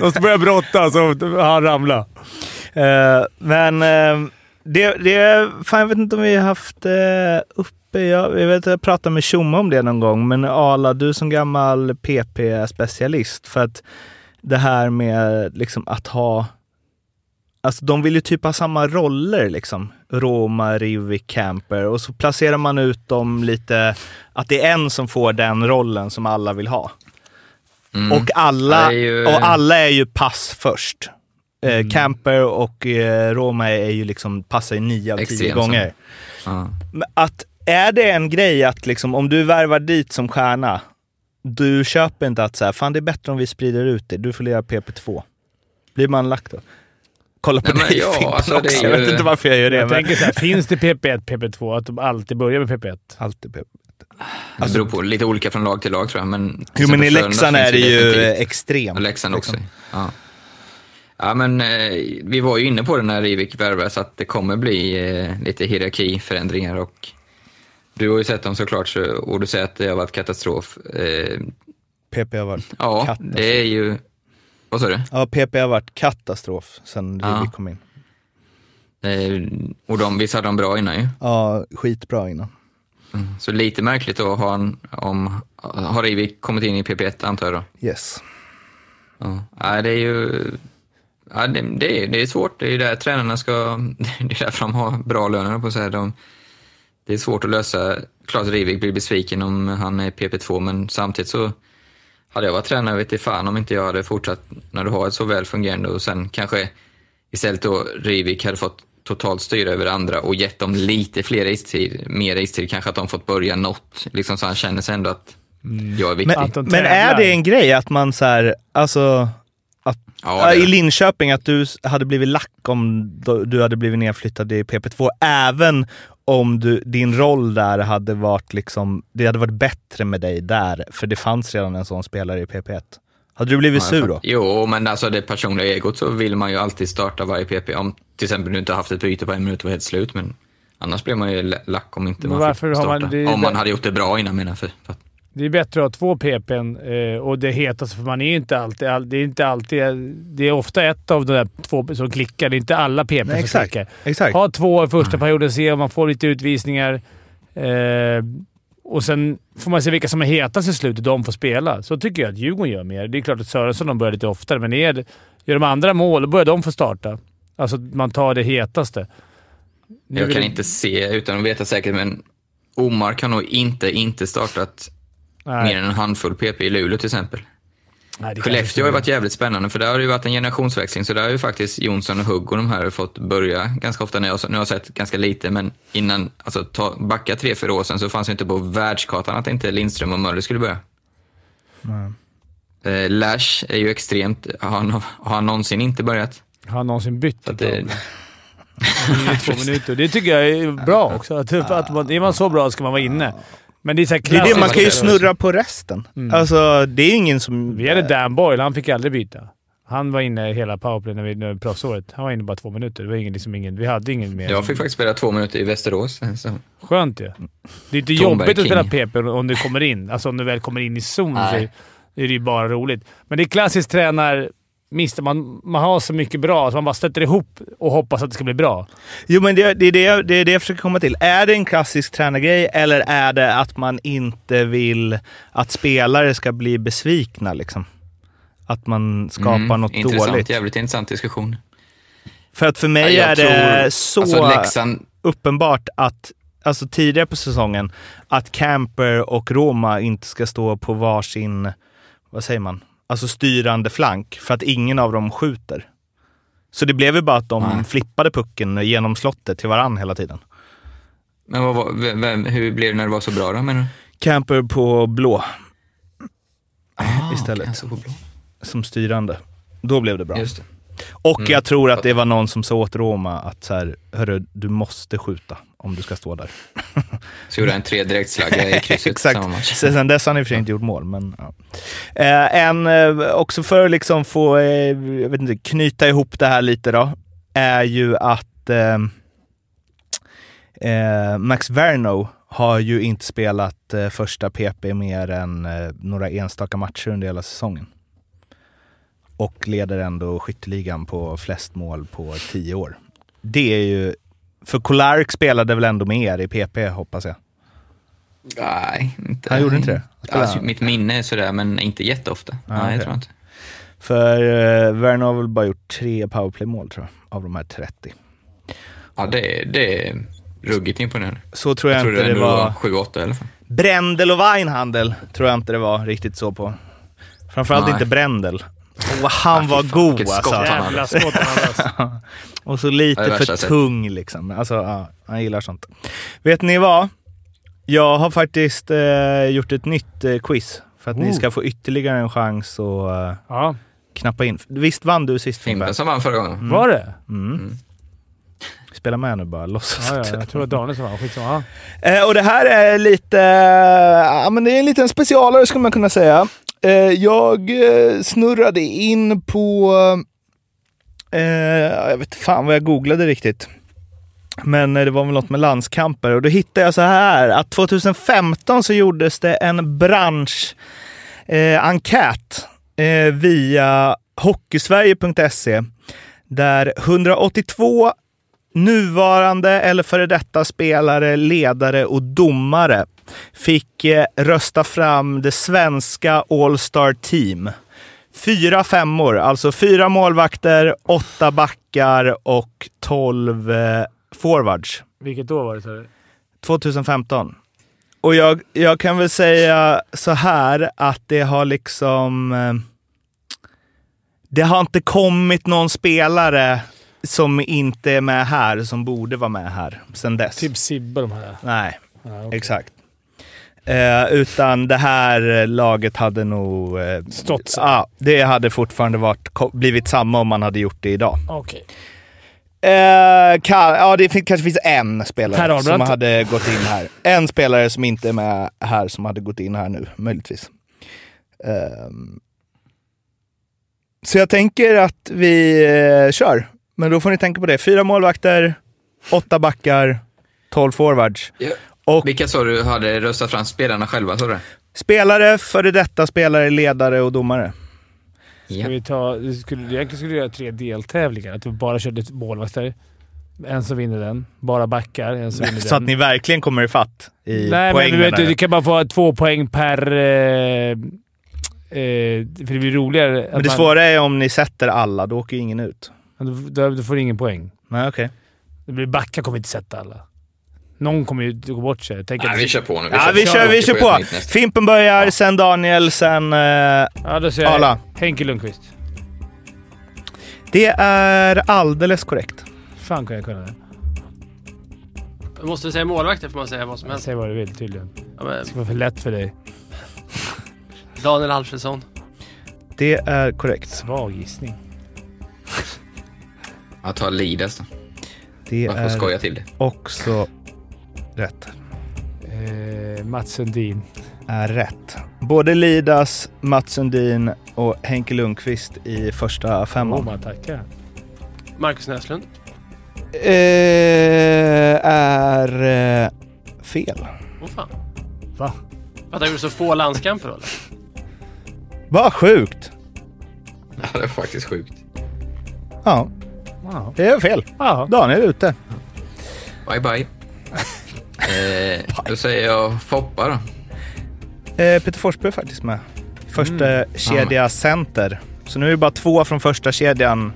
De började brottas och han ramlade.
Eh, men eh, det, det... Fan, jag vet inte om vi har haft eh, uppe... Jag, jag vet att jag pratade med Tjomme om det någon gång, men Ala, du som gammal PP-specialist, för att det här med liksom att ha... Alltså de vill ju typ ha samma roller liksom. Roma, Rivi, Camper. Och så placerar man ut dem lite, att det är en som får den rollen som alla vill ha.
Mm.
Och, alla,
Det är ju-
och alla är ju pass först. Eh,
Mm.
Camper och eh, Roma är ju liksom, passar ju nio av tio
Extremt,
gånger.
Ja.
Men Att, är det en grej att liksom, om du värvar dit som stjärna, du köper inte att så här, fan det är bättre om vi sprider ut det, du får lira PP2. Blir man lack då? Kolla på
Nej, men
dig
ja,
Fimpen
alltså, det är
också.
ju-
Jag vet inte varför jag gör det.
Jag
men...
tänker såhär, finns det PP1, PP2? Att de alltid börjar med PP1.
Alltid PP.
Det beror på, lite olika från lag till lag tror jag. Men
Jo men i Leksand är det ju eh,
definitivt.
extremt.
Och Leksand också.
liksom.
Ja. Ja, men eh, vi var ju inne på det när Rivik värvades att det kommer bli eh, lite hierarkiförändringar och du har ju sett dem såklart så, och du säger att det har varit katastrof. Eh,
PP har varit
ja,
katastrof.
det är ju... Vad sa du?
Ja, PP har varit katastrof sen
Ja.
Rubik kom in.
Eh, och de, visst hade de bra innan ju.
Ja, skitbra innan.
Så lite märkligt då har, han, om, har Rivik kommit in i PP1 antar jag då?
Yes.
Ja, Nej, det är ju... Ja, det, det, är, det är svårt. Det är ju där tränarna ska... Det är därför de har bra löner på så här. De, det är svårt att lösa. Klart Rivik blir besviken om han är PP2, men samtidigt så hade jag varit tränare vet inte fan om inte jag hade fortsatt när du har ett så väl fungerande och sen kanske istället då Rivik hade fått totalt styra över andra och gett dem lite fler istid, mer istid, kanske att de fått börja något, liksom så han känner sig ändå att jag är viktig.
Mm. Men,
de
men är
tävlar.
det en grej att man så här, alltså
ja, det-
i Linköping, att du s- hade blivit lack om du- du hade blivit nedflyttad i PP2, även om du, din roll där hade varit liksom, det hade varit bättre med dig där, för det fanns redan en sån spelare i PP1. Hade du blivit
Ja, jag
sur då?
fattar. Jo, men alltså det personliga egot så vill man ju alltid starta varje PP. Om till exempel du inte haft ett byte på en minut och var helt slut, men annars blir man ju la- lack om inte
Men
man
varför
fick
har man-
starta.
det är
om man
det-
hade gjort det bra innan menar jag. För, för att,
Det är bättre att ha två PPn eh, och det hetaste, för man är ju inte alltid... all- Det är, inte alltid, det är ofta ett av de där två som klickar. Det är inte alla PPn
Nej,
som
exakt.
klickar.
Exakt.
Ha två i
Mm.
första perioden, se om man får lite utvisningar. Eh, och sen får man se vilka som är hetast i slutet. De får spela. Så tycker jag att Djurgården gör mer. Det är klart att Sörensson de börjar lite oftare, men är, det- gör de andra mål, då börjar de få starta. Alltså, man tar det hetaste. Nu
jag
vill-
kan inte se utan att veta säkert, men Omar kan nog inte, inte startat
Nej,
mer än en handfull PP i Luleå till exempel.
nej, det kan jag inte
Skellefteå har ju
säga.
varit jävligt spännande, för där har det ju varit en generationsväxling. Så där har ju faktiskt Jonsson och Hugg och de här fått börja ganska ofta. När jag, nu har jag sett ganska lite, men innan, alltså ta, backa tre, fyra år sedan så fanns det inte på världskartan att inte Lindström och Möller skulle börja. Eh, Lash är ju extremt, har han, har han någonsin inte börjat?
Har han någonsin bytt?
Att det,
i två minuter. Det tycker jag är bra också. Att, att man, är man så bra ska man vara inne. Men det är så här
Det är det, man kan ju
klassiskt.
snurra på resten. Alltså, det är ju ingen som...
Mm. Vi hade Dan Boyle. Han fick aldrig byta. Han var inne i hela powerplay när vi när proffsåret. Han var inne bara två minuter. Det var ingen, liksom ingen, vi hade ingen mer.
jag fick faktiskt spela två minuter i Västerås. Så.
Skönt ju. Det är inte
Tomberg
jobbigt att spela
King.
PP om du kommer in. Alltså om du väl kommer in i zon så
Nej.
är det ju bara roligt. Men det är klassiskt tränar... Mister man, man har så mycket bra så man bara stöter ihop och hoppas att det ska bli bra.
Jo, men det, det, är det, jag- det är det jag försöker komma till. Är det en klassisk tränargrej eller är det att man inte vill att spelare ska bli besvikna? Liksom? Att man skapar
Mm,
något
intressant,
dåligt?
Jävligt intressant diskussion.
För att för mig
Jag
är
tror-
det så
Alltså Leksand,
uppenbart att Alltså tidigare på säsongen, att Camper och Roma inte ska stå på varsin, vad säger man, alltså styrande flank för att ingen av dem skjuter. Så det blev ju bara att de
Nej.
flippade pucken genom slottet till varann hela tiden.
men vad, var- vem, vem, hur blev det när det var så bra då menar du?
Camper på blå istället
Alltså, på blå.
som styrande. Då blev det bra.
Just det.
Och jag tror att det var någon som sa åt Roma att så här, hörru, du måste skjuta om du ska stå där.
Så gjorde jag en tre direktslagga i krysset samma
Exakt.
match.
Sen sen dess har han i och för sig inte gjort mål, men ja. eh, En, eh, också för att liksom få, eh, jag vet inte, knyta ihop det här lite då, är ju att eh, eh, Max Verno har ju inte spelat eh, första PP mer än eh, några enstaka matcher under hela säsongen. Och leder ändå skytteligan på flest mål på tio år. Det är ju... För Kolarek spelade väl ändå med er i PP, hoppas jag?
Nej, inte.
Han gjorde inte det? Spelade
Alltså,
han?
mitt minne är sådär, men inte jätteofta. Nej,
okej.
jag tror inte.
För eh, Werner har väl bara gjort tre powerplay-mål tror jag, av de här 30.
Ja, det, är- det är ruggigt imponerande.
Så tror jag,
Jag tror
inte
det
det
ändå var
var.
7-8 i alla fall.
Brändel och Weinhandel tror jag inte det var riktigt så på. Framförallt
Nej.
inte Brändel. Och han var god
vilket
alltså.
skott han
Jävla skott han hade. alltså.
Och så
Ja, det
lite
är
för
värsta jag sett.
tung liksom. Alltså, ja, han gillar sånt. Vet ni vad? Jag har faktiskt eh, gjort ett nytt eh, quiz för att ni ska få ytterligare en chans att eh,
Ja,
knappa in. Visst vann du sist Fimpen?
Fimpen som vann förra
Mm.
gången.
var det?
Spela med nu bara, låtsas
Ja, ja,
att-
jag tror att Danielsson var skitsamma. Ja.
Eh, och det här är lite, eh, ja men det är en liten specialare skulle man kunna säga. Eh, jag eh, snurrade in på Eh, jag vet fan vad jag googlade riktigt. Men eh, det var väl något med landskamper och då hittade jag så här att 2015 så gjordes det en bransch eh, enkät eh, via hockeysverige.se där 182 nuvarande eller före detta spelare, ledare och domare fick eh, rösta fram det svenska All-Star Team. Fyra femmor, alltså fyra målvakter, åtta backar och tolv eh, forwards.
Vilket år var det, sa du?
2015. Och jag, jag kan väl säga så här att det har liksom... eh, Det har inte kommit någon spelare som inte är med här, som borde vara med här sen dess.
Typ Sibbe de här.
Nej,
Ja, Ah, okej.
exakt. Eh, utan det här eh, laget hade nog... Eh,
Stått sig.
ja, det hade fortfarande varit, ko- blivit samma om man hade gjort det idag.
Okej.
Eh, kan, ja, det fin- kanske finns en
Per
spelare
Ahlbrandt.
som hade gått in här. En spelare som inte är med här som hade gått in här nu, möjligtvis. Ehm. så jag tänker att vi eh, kör. Men då får ni tänka på det. Fyra målvakter, åtta backar, tolv forwards.
Ja.
Och
Vilka sa du hade röstat fram spelarna själva? Sa du det?
spelare, före detta spelare, ledare och domare.
Ja.
Ska vi ta... vi Skulle, egentligen skulle vi göra tre deltävlingar. Att vi bara körde målvakter. En som vinner den. Bara backar. En som vinner
Så att
den.
ni verkligen kommer ifatt i
Mm. Nej,
poäng.
men du, vet,
menar
du
jag.
du kan bara få två poäng per... Eh, eh, för det blir roligare. att
men det
man-
svåra är om ni sätter alla, då åker ju ingen ut.
Du, du, du får ingen poäng.
Nej, okej.
Det blir backa kommer inte sätta alla. Någon kommer ju gå bort sig. Tänk
Nej,
att-
vi kör på nu.
Ja, vi kör, vi kör på.
Mitt nästa.
Fimpen börjar, sen Daniel, sen... eh,
Ja, då säger
Alla.
jag Henke Lundqvist.
det är alldeles korrekt.
fan kan jag kunna det?
Måste vi säga målvakter får man säga vad som helst.
Säg vad du vill tydligen.
Ja, men,
Det ska vara för lätt för dig.
Daniel Alfredsson.
Det är korrekt.
Svag gissning.
Jag tar Lidas då.
Det
Jag får
är
skoja till det.
också rätt.
Eh, Mats Sundin.
Är rätt. Både Lidas, Mats Sundin och Henke Lundqvist i första
Oh,
femman.
man tackar.
Marcus Näslund.
Eh, är eh, fel.
Åh fan.
Va?
För att han gjorde så få landskamper då, eller?
Vad sjukt!
Ja, det var faktiskt sjukt.
Ja,
Wow.
det är fel.
Ja.
Daniel är ute.
Bye, bye. eh, då säger jag Foppa då.
Eh, Peter Forsberg är faktiskt med. Första
Mm.
kedja center. Så nu är det bara två från första kedjan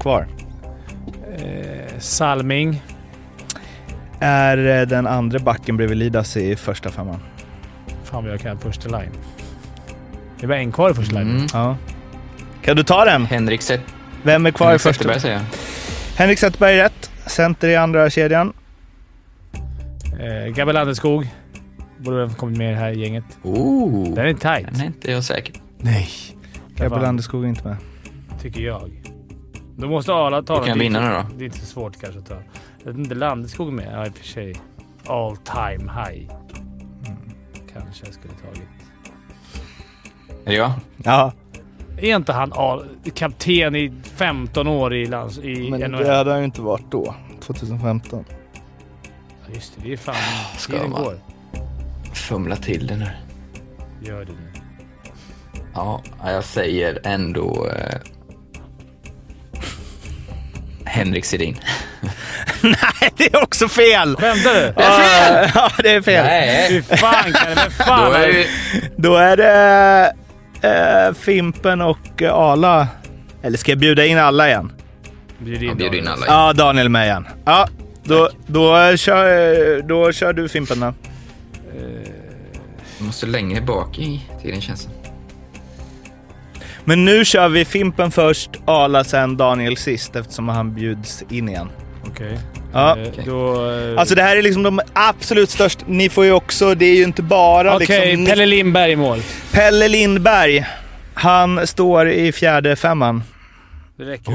kvar.
Eh, Salming.
Är eh, den andra backen bredvid Lidas i första femman.
Fan vad jag kan första line. Det var en kvar i första line.
Mm.
Ja. Kan du ta den?
Henrik Zet-
Vem är kvar i
Henrik
första?
Zetterberg säger jag.
Henrik Zetterberg är rätt. Center i andra kedjan.
Eh, Gabriel Landeskog. Borde väl ha kommit med i det här gänget.
Oh,
Den är tight.
den är inte jag säker på.
Nej.
Gabriel Landeskog är inte med.
Tycker jag. Då måste Arla ta
Då
den.
kan jag
Det är
vinna
inte-
nu då.
Det är inte så svårt kanske att ta. Jag vet inte, Landeskog med? Ja, i och för sig. All time high. Kanske jag skulle tagit.
Är det jag?
Ja,
Är inte han all, kapten i 15 år i, lands, i
Men
NHL?
det hade han ju inte varit då, 2015.
Ja, Just det, det är fan...
Ska
Tiden
man-
går.
Fumla till den nu.
Gör det nu.
Ja, jag säger ändå... Eh... Henrik Sedin.
det är också fel!
Skämtar du?
Ja, det är fel.
Nej!
Ah. Fy fan Kalle, vem
Då
fan
är det...
Då är det eh, Fimpen och eh, Arla. Eller ska jag bjuda in alla igen?
Bjud in
Jag bjuder in
Daniel.
alla.
Ja, Daniel med igen. Ja, då, då, eh, kör, då kör du Fimpen då.
Jag måste längre bak i tiden känns det.
Men nu kör vi Fimpen först, Arla sen, Daniel sist eftersom han bjuds in igen.
Okej.
Ja.
Eh, Då... eh,
Alltså det här är liksom de absolut största. Ni får ju också, det är ju inte bara
Okej,
liksom...
Pelle Lindberg i mål.
Pelle Lindberg. Han står i fjärde femman.
Det räcker.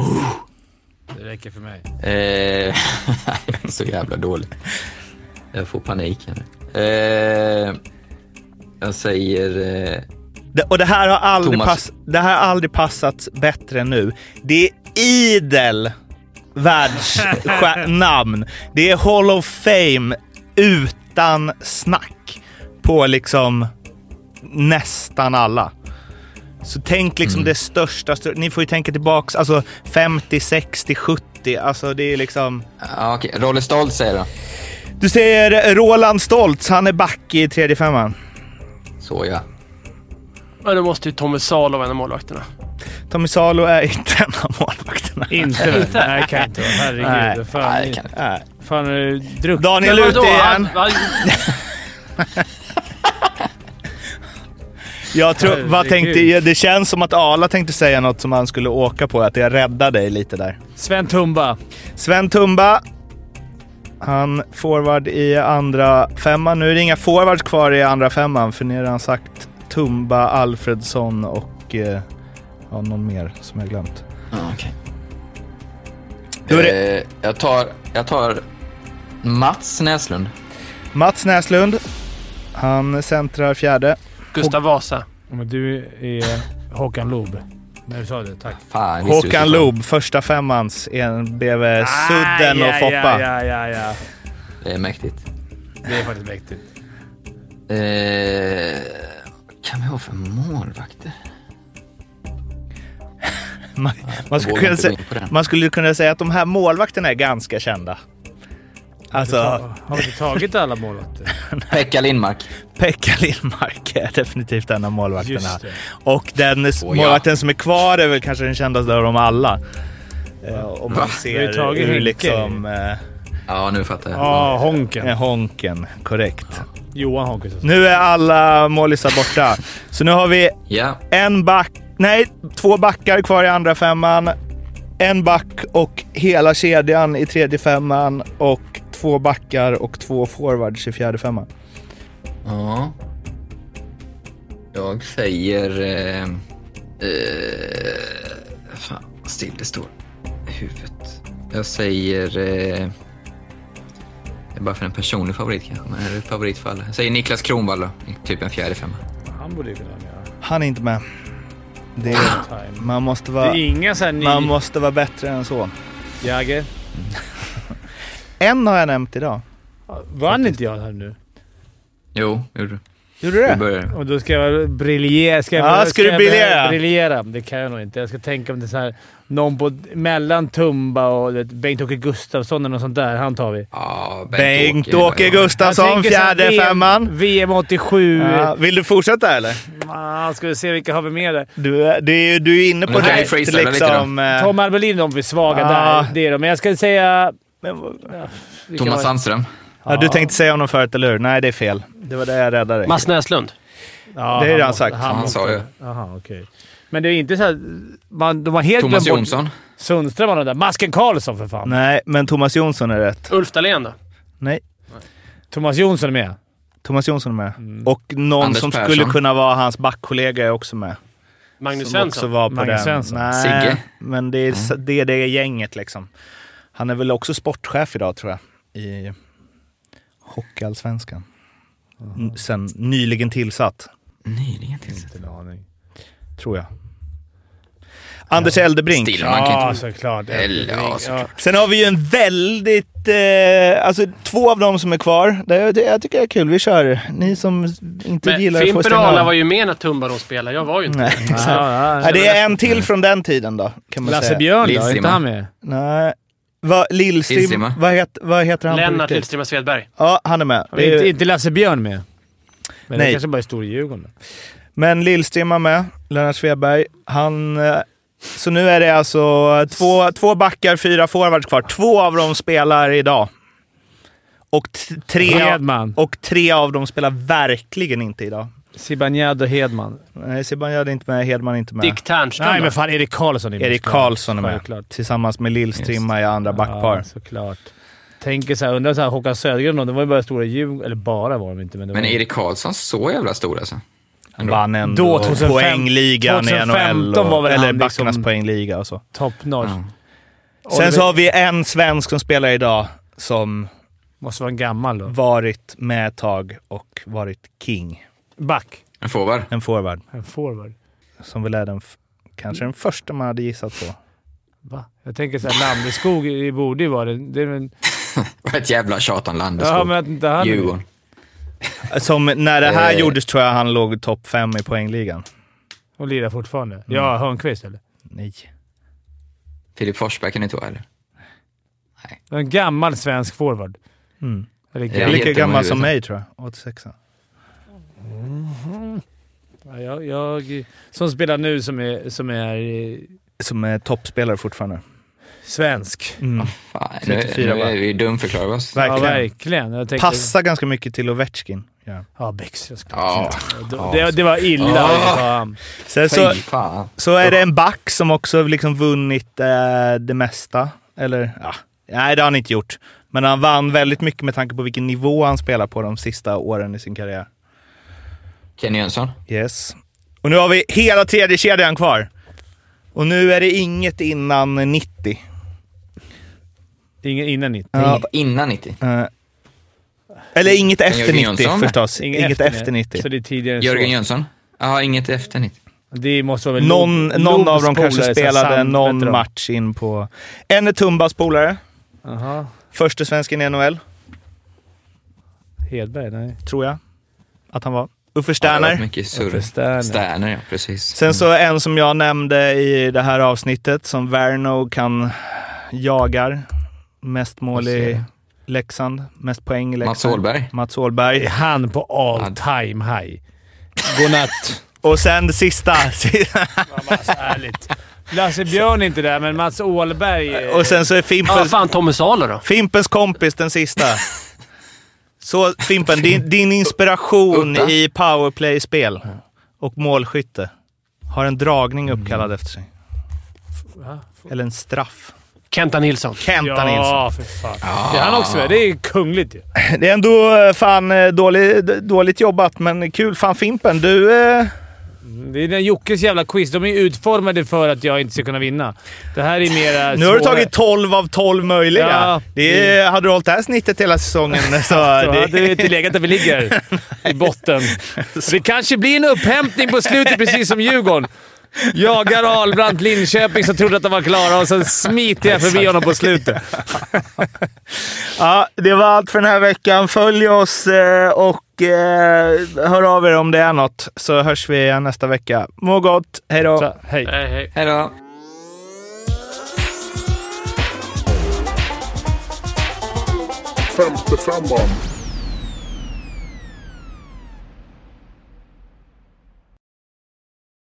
Det räcker för mig.
Eh... jag är så jävla dålig. Jag får panik här nu. Eh... Jag säger... Eh...
Det- Och det här har aldrig,
Thomas.
pass, det här har aldrig passats bättre än nu. Det är idel världsnamn. Det är Hall of Fame utan snack på liksom nästan alla. Så tänk liksom det största, stö- ni får ju tänka tillbaks, alltså 50, 60, 70, alltså det är liksom...
Ja, okej. Rolle Stolt säger jag.
Du säger Roland Stoltz, han är back i tredje femman.
Så ja.
Ja, då måste ju Tommy Salo vara en av målvakterna.
Tommy Salo är inte en av målvakterna.
Inte väl? Nej, det kan inte vara.
Nej.
Herregud. Fan,
Nej, det kan
Nej.
fan är du druckit?
Daniel
Men vadå?
ute igen.
Han- han-
Jag tror, vad
Herregud.
tänkte, ja, det känns som att Arla tänkte säga något som han skulle åka på, att jag räddade dig lite där.
Sven Tumba.
Sven Tumba. Han forward i andra femman. Nu är det inga forwards kvar i andra femman, för ni har redan sagt Tumba, Alfredsson och eh, ja, någon mer som jag har glömt.
Ja, okej.
Då är det
Eh, jag, tar, jag tar Mats Näslund.
Mats Näslund. Han centrar fjärde.
Gustav Vasa.
Men du är Håkan Loob. När du sa det, tack.
Fan, visst är det
Håkan
så.
Loob, första femmans, en bredvid Sudden och Foppa.
Ja, ja, ja, ja.
Det är mäktigt.
Det är faktiskt mäktigt.
Eh, vad kan vi ha för målvakter?
Man, man, skulle
vågar
kunna
inte
säga,
gå in på den.
man skulle kunna säga att de här målvakterna är ganska kända. Alltså,
Har vi inte tagit alla målvakter?
Pekka Lindmark.
Pekka Lindmark är definitivt en av målvakterna.
Just det.
Och den
ja.
målvakten som är kvar är väl kanske den kändaste av dem alla. Eh, om man
Vi har ju
ser
tagit
hur
Henke.
liksom... Eh,
Ja, nu fattar jag.
Ja, Honken.
honken, korrekt.
Johan Honken. så-
Nu är alla målisar borta. Så nu har vi
Ja,
en back... Nej, två backar kvar i andra femman. En back och hela kedjan i tredje femman. Och två backar och två forwards i fjärde femman.
Ja. Jag säger... Eh, eh, fan, vad still det står i huvudet. Jag säger... Eh, det är bara för en personlig favorit kanske, men är det favoritfall? Jag säger Niklas Kronwall då, i typ en fjärde femma.
Han borde ju kunna göra
Han är inte med. Det är,
time.
man, måste
Det
vara,
är inga såhär ny...
man måste vara bättre än så.
Jagger.
En har jag nämnt idag.
Vann inte jag här nu?
Jo, gjorde du.
Gjorde du
Du
det?
börjar.
Och då ska jag briljera. Ska jag,
Ja, ska du
jag
briljera?
briljera? Det kan jag nog inte. Jag ska tänka om det är så här, någon på, mellan Tumba och du vet, Bengt-Åke Gustafsson eller något sånt där. Han tar vi.
Ja,
Bengt-Åke
Jag
Gustafsson,
tänker så här,
fjärde
VM
femman.
VM 87.
Ja,
Ja.
vill du fortsätta eller?
ska vi se vilka har vi med där.
Du, är- du, är- du är inne på
Men kan
det.
vi freestyla lite
eh,
Tom Albelin, de är svaga
Ja.
där. Det är de. Men jag ska säga...
men vad-
vilka
Thomas
var
Sandström.
ja, du tänkte säga honom förut, eller hur? Nej, det är fel. Det var det jag räddade dig.
Mats Näslund.
det?
Det
Ja,
är
han
redan
måste-
sagt.
Han
måste-
sa ju.
Jaha, okej. Men det är inte så här, man, De har helt
Thomas
glömt bort...
Jonsson.
Sundström var nog där. Masken Karlsson för fan.
Nej, men Thomas Jonsson är rätt.
Ulf Dahlén då?
Nej,
Thomas Jonsson är med.
Thomas Jonsson är med.
Mm.
Och någon
Anders
som
Persson.
skulle kunna vara hans backkollega är också med.
Magnus
Som också
Svensson?
var på
Magnus
den.
Svensson.
Nej,
Sigge. Mm.
Men det är, s- det är det gänget liksom. Han är väl också sportchef idag tror jag. I Hockeyallsvenskan. N- Sen nyligen tillsatt,
Nyligen tillsatt.
Inte en aning.
tror jag. Anders Eldebrink.
Stillman kan
Ja,
inte...
såklart.
Eller, ja, såklart.
Sen har vi ju en väldigt... Eh, alltså två av dem som är kvar. Det, det, jag tycker det är kul. Vi kör. Ni som inte
Men
Typ gillar
Fimpen
stänga
och
av.
Arla var ju med när Tumba då spelade. Jag var ju inte
Nej, exakt. Nej, det är en till från den tiden då, kan man
Lasse
säga.
Björn då? Är inte
Lindström.
han med?
Nej. Va, Lillstim,
Lillstimma.
vad, heter, vad heter han på
Lennart
riktigt?
Lidström och Svedberg.
Ja, han är med. Det
Är
är-
inte, inte Lasse Björn med? Men
Nej.
det kanske bara är stor i Djurgården. då.
Men Lillstim är med. Lennart Svedberg. Han... eh, Så nu är det alltså två, två backar, fyra forwards kvar. Två av dem spelar idag. Och, t- tre,
Hedman.
och tre av dem spelar verkligen inte idag.
Zibanejad och Hedman.
Nej, Zibanejad är inte med, Hedman är inte med.
Dick Ternström
Nej,
då?
men fan. Erik Karlsson är med.
Erik Karlsson är med.
Självklart.
Tillsammans med Lillstrimma i andra backpar.
Ja, såklart. Tänker såhär, undrar såhär, Håkan Södergren då, de var ju bara stora i Djurgården. Eller bara var de inte, men... Det var
Men Erik Karlsson, så jävla stor alltså. Ändå.
Vann ändå
Då, 2005
poängligan i NHL.
2015
Och,
var väl
eller
han liksom-
backarnas poängliga och så.
Top notch.
Ja.
Sen
Oliver-
så har vi en svensk som spelar idag som
Måste vara en gammal då.
varit med ett tag och varit king.
Back.
En forward.
En forward.
En forward.
Som väl är den, f- kanske den första man hade gissat på.
Va? Jag tänker såhär, Landeskog i- borde ju vara det. det är väl,
Ett jävla tjat om Landeskog.
ja, men att inte han...
Djurgården.
Som när det här
Eh.
gjordes tror jag han låg topp fem i poängligan.
Och lirar fortfarande.
Mm.
Ja, Hörnqvist eller?
Nej.
Filip Forsberg kan det inte vara eller?
En gammal svensk forward.
Mm.
Eller
Ja.
gammal.
Lika
helt dum i
gammal
huvudet.
som mig tror jag. 86.
Ja, jag, jag, som spelar nu som är, som är eh,
Som är toppspelare fortfarande.
svensk.
Mm.
Fan, nu,
34
nu
bara.
är vi dumförklarade oss.
Verkligen.
Ja, verkligen. Jag tänkte,
Passar ganska mycket till Ovechkin. Ja.
Ja, Bäckström skulle
Ja.
det, det, det var illa. Fan.
Sen så,
Fy fan.
så är det en back som också liksom vunnit eh, det mesta. Eller ja, nej det har han inte gjort. Men han vann väldigt mycket med tanke på vilken nivå han spelar på de sista åren i sin karriär.
Kenny Jönsson.
Yes. Och nu har vi hela tredje kedjan kvar. Och nu är det inget innan 90.
Ingen, innan 90.
Ja.
Innan 90.
Eh, eller inget efter
Jörgen
90
Jönsson?
förstås. inget efter 90.
Så det är tidigare än
Jörgen
så.
Jönsson. Ja, inget efter 90.
Det måste vara väl
Någon,
Lobs-
någon av
Lobs
dem kanske
polare, så här
spelade
Sand- vet
någon
du.
match in på... En är Tumbas polare.
Aha.
Första svensken i NHL,
Hedberg? Nej.
tror jag att han var. Uffe
Ja, det har varit
Sterner.
mycket Mm. surr.
För Sterner.
Sterner, ja precis.
Sen så en som jag nämnde i det här avsnittet som Verno kan jagar. Mest mål
Jag ser
i
det.
Leksand, mest poäng i Leksand.
Mats Åhlberg.
Mats Åhlberg.
Är han på all time high? Godnatt.
Och sen sista.
Ärligt. Lasse Björn är inte där, men Mats Åhlberg. eh, är-
Och sen så är
Ja, ah,
Fimpen,
fan Tommy Salo då.
Fimpens kompis den sista. Så Fimpen, din, din inspiration
Utta.
i powerplay-spel och målskytte har en dragning
Mm.
uppkallad efter sig. Eller en straff.
Kenta Nilsson.
Kenta Nilsson.
Ja, för fan. Det är han också med. Det är kungligt ju.
Det är ändå eh, fan eh, dålig, d- dåligt jobbat, men kul. Fan Fimpen, du... Eh,
Det är den Jockes jävla quiz. De är utformade för att jag inte ska kunna vinna. Det här är mera...
nu har du
svåra-
tagit 12 av 12 möjliga.
Ja.
det är, Hade du hållit det här snittet hela säsongen så...
Så
det,
hade vi inte legat där vi ligger. I botten. Det kanske blir en upphämtning på slutet, precis som Djurgården. Jagar Ahlbrandt Linköping som trodde att de var klara och sen smiter jag förbi honom på slutet.
Ja, det var allt för den här veckan. Följ oss eh, och eh, hör av er om det är något, så hörs vi igen nästa vecka. Må gott! Hej då!
Så, hej.
Hej, hej.
Hej då.
Femte femman.